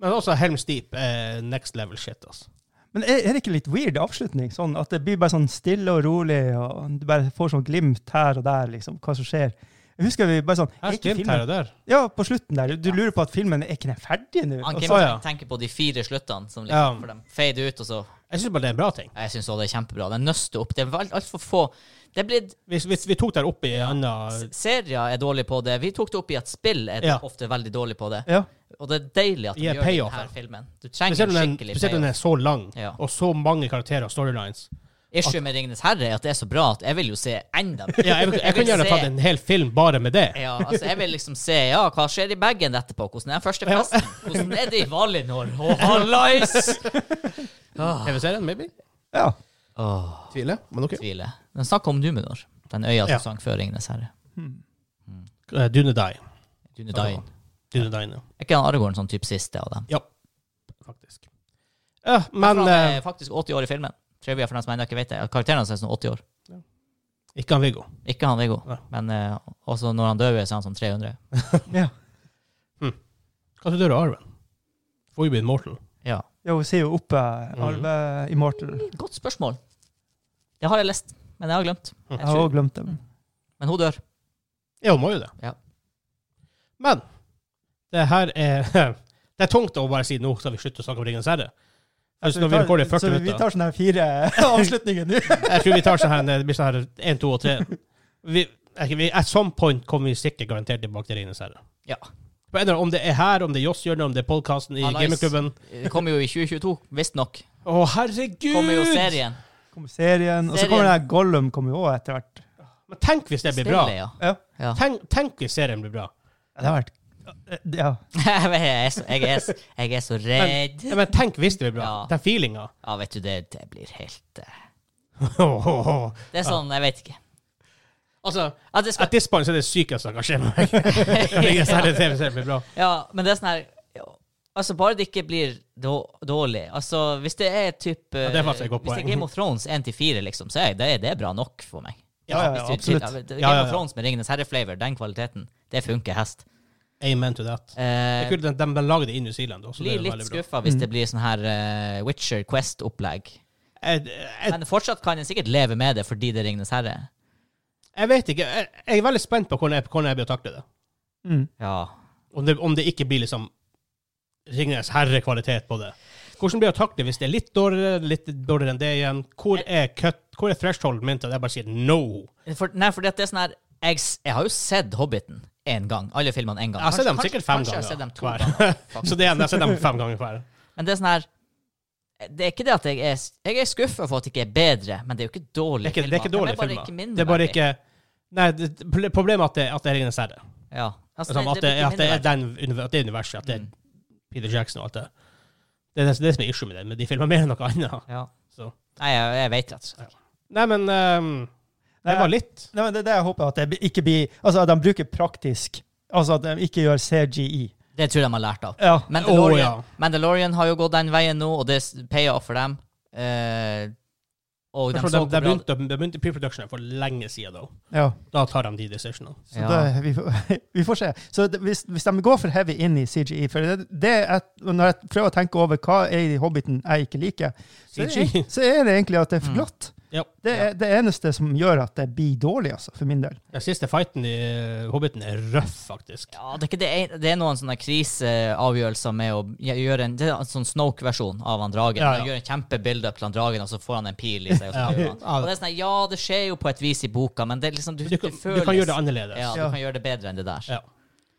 S1: Men også Helms Deep er next level shit, altså.
S3: Men er, er det ikke litt weird avslutning? Sånn At det blir bare sånn stille og rolig, og du bare får sånn glimt her og der, liksom, hva som skjer. Jeg husker vi bare sånn
S1: Her
S3: er ikke
S1: glimt her
S3: filmen-
S1: og der.
S3: Ja, på slutten der. Du lurer på at filmen er ikke den ferdig nå?
S2: Han
S3: Og
S2: Kim
S1: Å, ja.
S2: tenker på de fire sluttene, som
S1: Ja.
S2: liksom, for de fader ut, og så
S1: Jeg syns bare det er en bra ting.
S2: Jeg syns også det er kjempebra. Den nøster opp. Det er alt- altfor få Det er blitt
S1: Hvis, hvis vi tok der oppe i en annen
S2: s- Serier er dårlig på det. Vi tok det opp i at spill er
S1: Ja.
S2: ofte veldig dårlig på det.
S3: Ja.
S2: Og det er deilig at vi
S1: Gi
S2: gjør det i
S1: payoff,
S2: denne
S1: ja.
S2: filmen. Du trenger
S1: Spesielt når
S2: en
S1: den,
S2: skikkelig
S1: spesielt når den
S2: payoff.
S1: er så lang,
S2: Ja.
S1: og så mange karakterer og storylines.
S2: Issue med Ringenes herre er at det er så bra at jeg vil jo se enda mer.
S1: Ja, jeg, jeg, kunne gjerne
S2: se-
S1: tatt en hel film bare med det.
S2: Ja, altså jeg vil liksom se ja, hva skjer i bagen etterpå. Hvordan er den første
S1: Ja.
S2: festen? Hvordan er det i Valinor? Å, hallais! Åh,
S1: TV-serien, maybe?
S3: ja.
S2: åh,
S1: Tviler, men ok.
S2: tviler. Men snakk om Numenor, den øya som
S1: Ja.
S2: sang før Ringenes herre.
S1: Eh, Dunedain.
S2: Dunedain.
S1: Dunedain, ja.
S2: Er ikke han Aragorn sånn type siste av dem?
S1: ja. Faktisk. Ja, men
S2: han er
S1: eh,
S2: faktisk 80 år i filmen. Trivia for dem som ennå ikke vet det. Karakteren hans er sånn 80 år.
S1: ikke han Viggo.
S2: Ikke han Viggo,
S1: Nei.
S2: men eh, også når han dør, så er han sånn 300.
S3: ja.
S1: Kanskje dør av arven? Får jo bli en mortal.
S2: Ja.
S1: Mm.
S3: Ja, hun ser jo oppe Alve Immortal.
S2: Godt spørsmål. Det Det har jeg lest, men jeg har glemt.
S1: Mm.
S2: Jeg
S3: Jeg har
S2: tror.
S3: òg glemt dem.
S2: Men hun dør.
S1: Ja, hun må jo det.
S2: Ja.
S1: Men det her er Det er tungt å bare si nå skal vi slutte å snakke om Ringenes herre. Jeg synes når vi rekorder i 40
S3: så vi
S1: minutter
S3: tar sånne her fire avslutninger nå.
S1: Jeg tror vi tar sånn her Det blir sånn her 1, 2 og 3. Vi, jeg- vi, at some point kommer vi sikkert garantert tilbake til Ringenes herre.
S2: Ja.
S1: På en eller annen- Om det er her, om det er Joss-hjørnet, om det er podkasten i
S2: Ah, nice.
S1: gamingklubben
S2: Det kommer jo i 2022, visstnok.
S1: Å, herregud!
S2: Kommer jo serien.
S3: Kommer serien, og så kommer den her Gollum kommer jo også etter hvert.
S1: Men tenk hvis det blir bra.
S2: Spillet, ja.
S3: Ja,
S2: ja.
S1: Tenk, tenk hvis serien blir bra.
S3: det har vært ja.
S2: jeg, er så, jeg, er så, jeg er så redd.
S1: Ja, men tenk hvis det blir bra.
S2: Ja.
S1: Den feelinga.
S2: Ja, vet du, det, det blir helt eh,
S1: At
S2: Det er sånn, jeg vet ikke.
S1: Altså,
S2: Ja, det skal,
S1: this point så er det det sykeste som kan skje med meg. Ringenes herre TV-serien blir bra.
S2: ja, men det er sånn her ja, Altså, bare det ikke blir då- dårlig. Altså, hvis det er typ eh,
S1: det er faktisk et godt
S2: Hvis det
S1: poeng.
S2: er Game of Thrones 1-4, liksom, så er det, det er bra nok for meg.
S3: Ja, ja, ja,
S2: Hvis du-
S3: absolutt.
S2: Game
S1: Ja, ja,
S2: of
S1: ja.
S2: Thrones med Ringenes herre-flavor, den kvaliteten, det funker hest.
S1: Amen to that. Det
S2: Eh,
S1: er kult, de, de, de lager det i New Zealand også. Det
S2: blir
S1: er
S2: litt
S1: veldig bra.
S2: skuffa hvis det blir sånn her eh, Witcher Quest-opplegg.
S1: Jeg, jeg,
S2: Men fortsatt kan en sikkert leve med det fordi det er Ringenes herre.
S1: jeg vet ikke. Jeg, jeg er veldig spent på hvordan jeg, hvordan jeg blir å takle det.
S3: Mm.
S2: Ja.
S1: Om det, om det ikke blir liksom Ringenes herre-kvalitet på det. Hvordan blir det å takle hvis det er litt dårligere, litt dårligere enn det igjen? Hvor er, cut, hvor er thresholden min til at jeg bare sier no?
S2: For, nei, fordi at det er sånn her jeg, s- jeg har jo sett Hobbiten én gang. Alle filmene én gang.
S1: Jeg har sett dem
S2: Kanskje-
S1: sikkert fem
S2: kanskje jeg har sett dem
S1: ganger.
S2: to ganger.
S1: hver. Så det er, jeg har sett dem fem ganger hver.
S2: Men det er sånn her Det er ikke det at jeg er s- Jeg er skuffa for at det ikke er bedre, men det er jo ikke
S1: Det
S2: dårlige
S1: er ikke, det er ikke dårlige
S2: filmer. De
S1: filmer.
S2: mindre
S1: Det er bare
S2: verdige.
S1: ikke Nei, det, problemet er at det, at det er Ringenes herre.
S2: ja. altså,
S1: Sånn, at, det,
S2: blir ikke
S1: at det er
S2: mindre verdig.
S1: den, at det er universet, at det er Peter Jackson og alt det. Det er det, det som er issue med det, men de filmer mer enn noe annet.
S2: ja.
S1: Så.
S2: Nei, jeg, jeg vet rett og slett ikke.
S1: Nei, men ehm, det var litt.
S3: Nei, men det er det jeg håper, at det ikke blir Altså at de bruker praktisk. Altså at de ikke gjør CGI.
S2: Det tror jeg de har lært av.
S3: Ja.
S2: Mandalorian,
S1: Å, ja.
S2: Mandalorian har jo gått den veien nå, og det s- payer off for dem. Eh, og de
S1: Jeg tror
S2: så
S1: de,
S2: hvor
S1: de
S2: bra-
S1: begynte, de begynte pre-productionen for lenge siden, da.
S3: ja.
S1: Da tar de de decisionene.
S3: Så
S2: Ja.
S3: det, vi, får- vi får se. Så det, hvis, hvis de går for heavy inn i CGI for det, det er, et- Når jeg prøver å tenke over hva er i Hobbiten jeg ikke liker, så er,
S1: CGI.
S3: det, så er det egentlig at det
S2: Mm.
S3: er for glatt.
S1: Ja.
S3: Det er det eneste som gjør at det blir dårlig, altså, for min del.
S1: Den siste fighten i eh, Hobbiten er røff, faktisk.
S2: Ja, det er, ikke det, en- det er noen sånne kriseavgjørelser med å gj- gjøre en, det er en sånn Snoke-versjon av han dragen.
S1: Ja, ja.
S2: Han gjør en kjempe-build-up til han dragen, og så får han en pil i seg. Og så
S1: Ja.
S2: dør han.
S1: Ja.
S2: Og det er sånn, her, ja, det skjer jo på et vis i boka, men det er liksom, du,
S1: Du kan,
S2: det
S1: du
S2: føles
S1: kan gjøre det annerledes.
S2: Ja,
S3: Ja.
S2: du kan gjøre det bedre enn det der.
S1: Ja.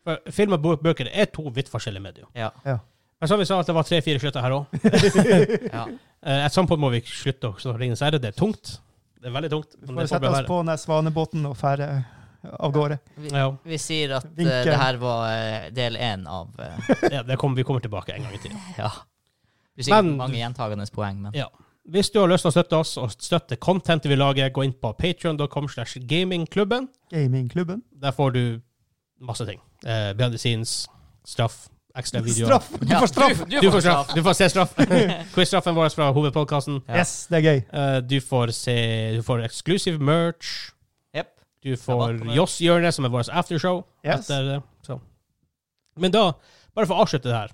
S1: For film og bok- bøker er to vidt forskjellige medier.
S2: Ja.
S3: Ja.
S1: Men som vi sa, at det var tre-fire slutter her Eh, òg.
S2: ja.
S1: Et sånt punkt må vi slutte å snakke om Ringenes herre. Det er tungt. Det er veldig tungt. men
S3: Får
S1: det
S3: vi
S1: får
S3: sette
S1: bare
S3: oss
S1: være.
S3: på den der svanebåten og fære av gårde.
S2: Vi,
S1: Ja.
S2: vi sier at eh,
S3: Vinkel.
S2: det her var eh, del én av eh,
S1: Ja, det kommer, vi kommer tilbake en gang i tiden.
S2: Ja. Det blir sikkert
S1: Men-
S2: mange gjentagende poeng, men
S1: Ja. Hvis du har lyst til å støtte oss og støtte contentet vi lager, gå inn på patreon.com slash gamingklubben.
S3: Gamingklubben.
S1: Der får du masse ting. Eh, behind the scenes, straff, ekstra videoer.
S3: Straff! Du får straff!
S2: Du,
S1: Du får straff! Du får se straff. Quiz-straffen vår fra hovedpodkasten.
S2: Ja.
S3: Yes, det er gøy.
S1: Eh, du får se Du får eksklusiv merch.
S2: Jep.
S1: Du
S2: Rabatt
S1: får
S2: på merch.
S1: Joss-hjørnet, som er vårt aftershow.
S3: Yes.
S1: Etter, det, så. Men da, bare for å avslutte det her,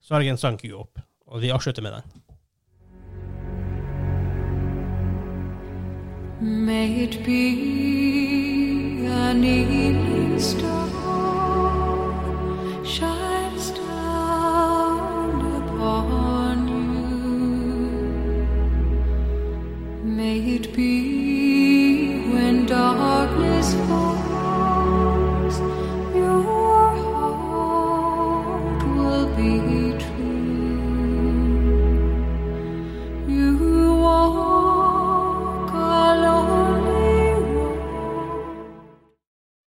S1: så har jeg en sang queue opp, og vi avslutter med den.
S4: May it be an evening star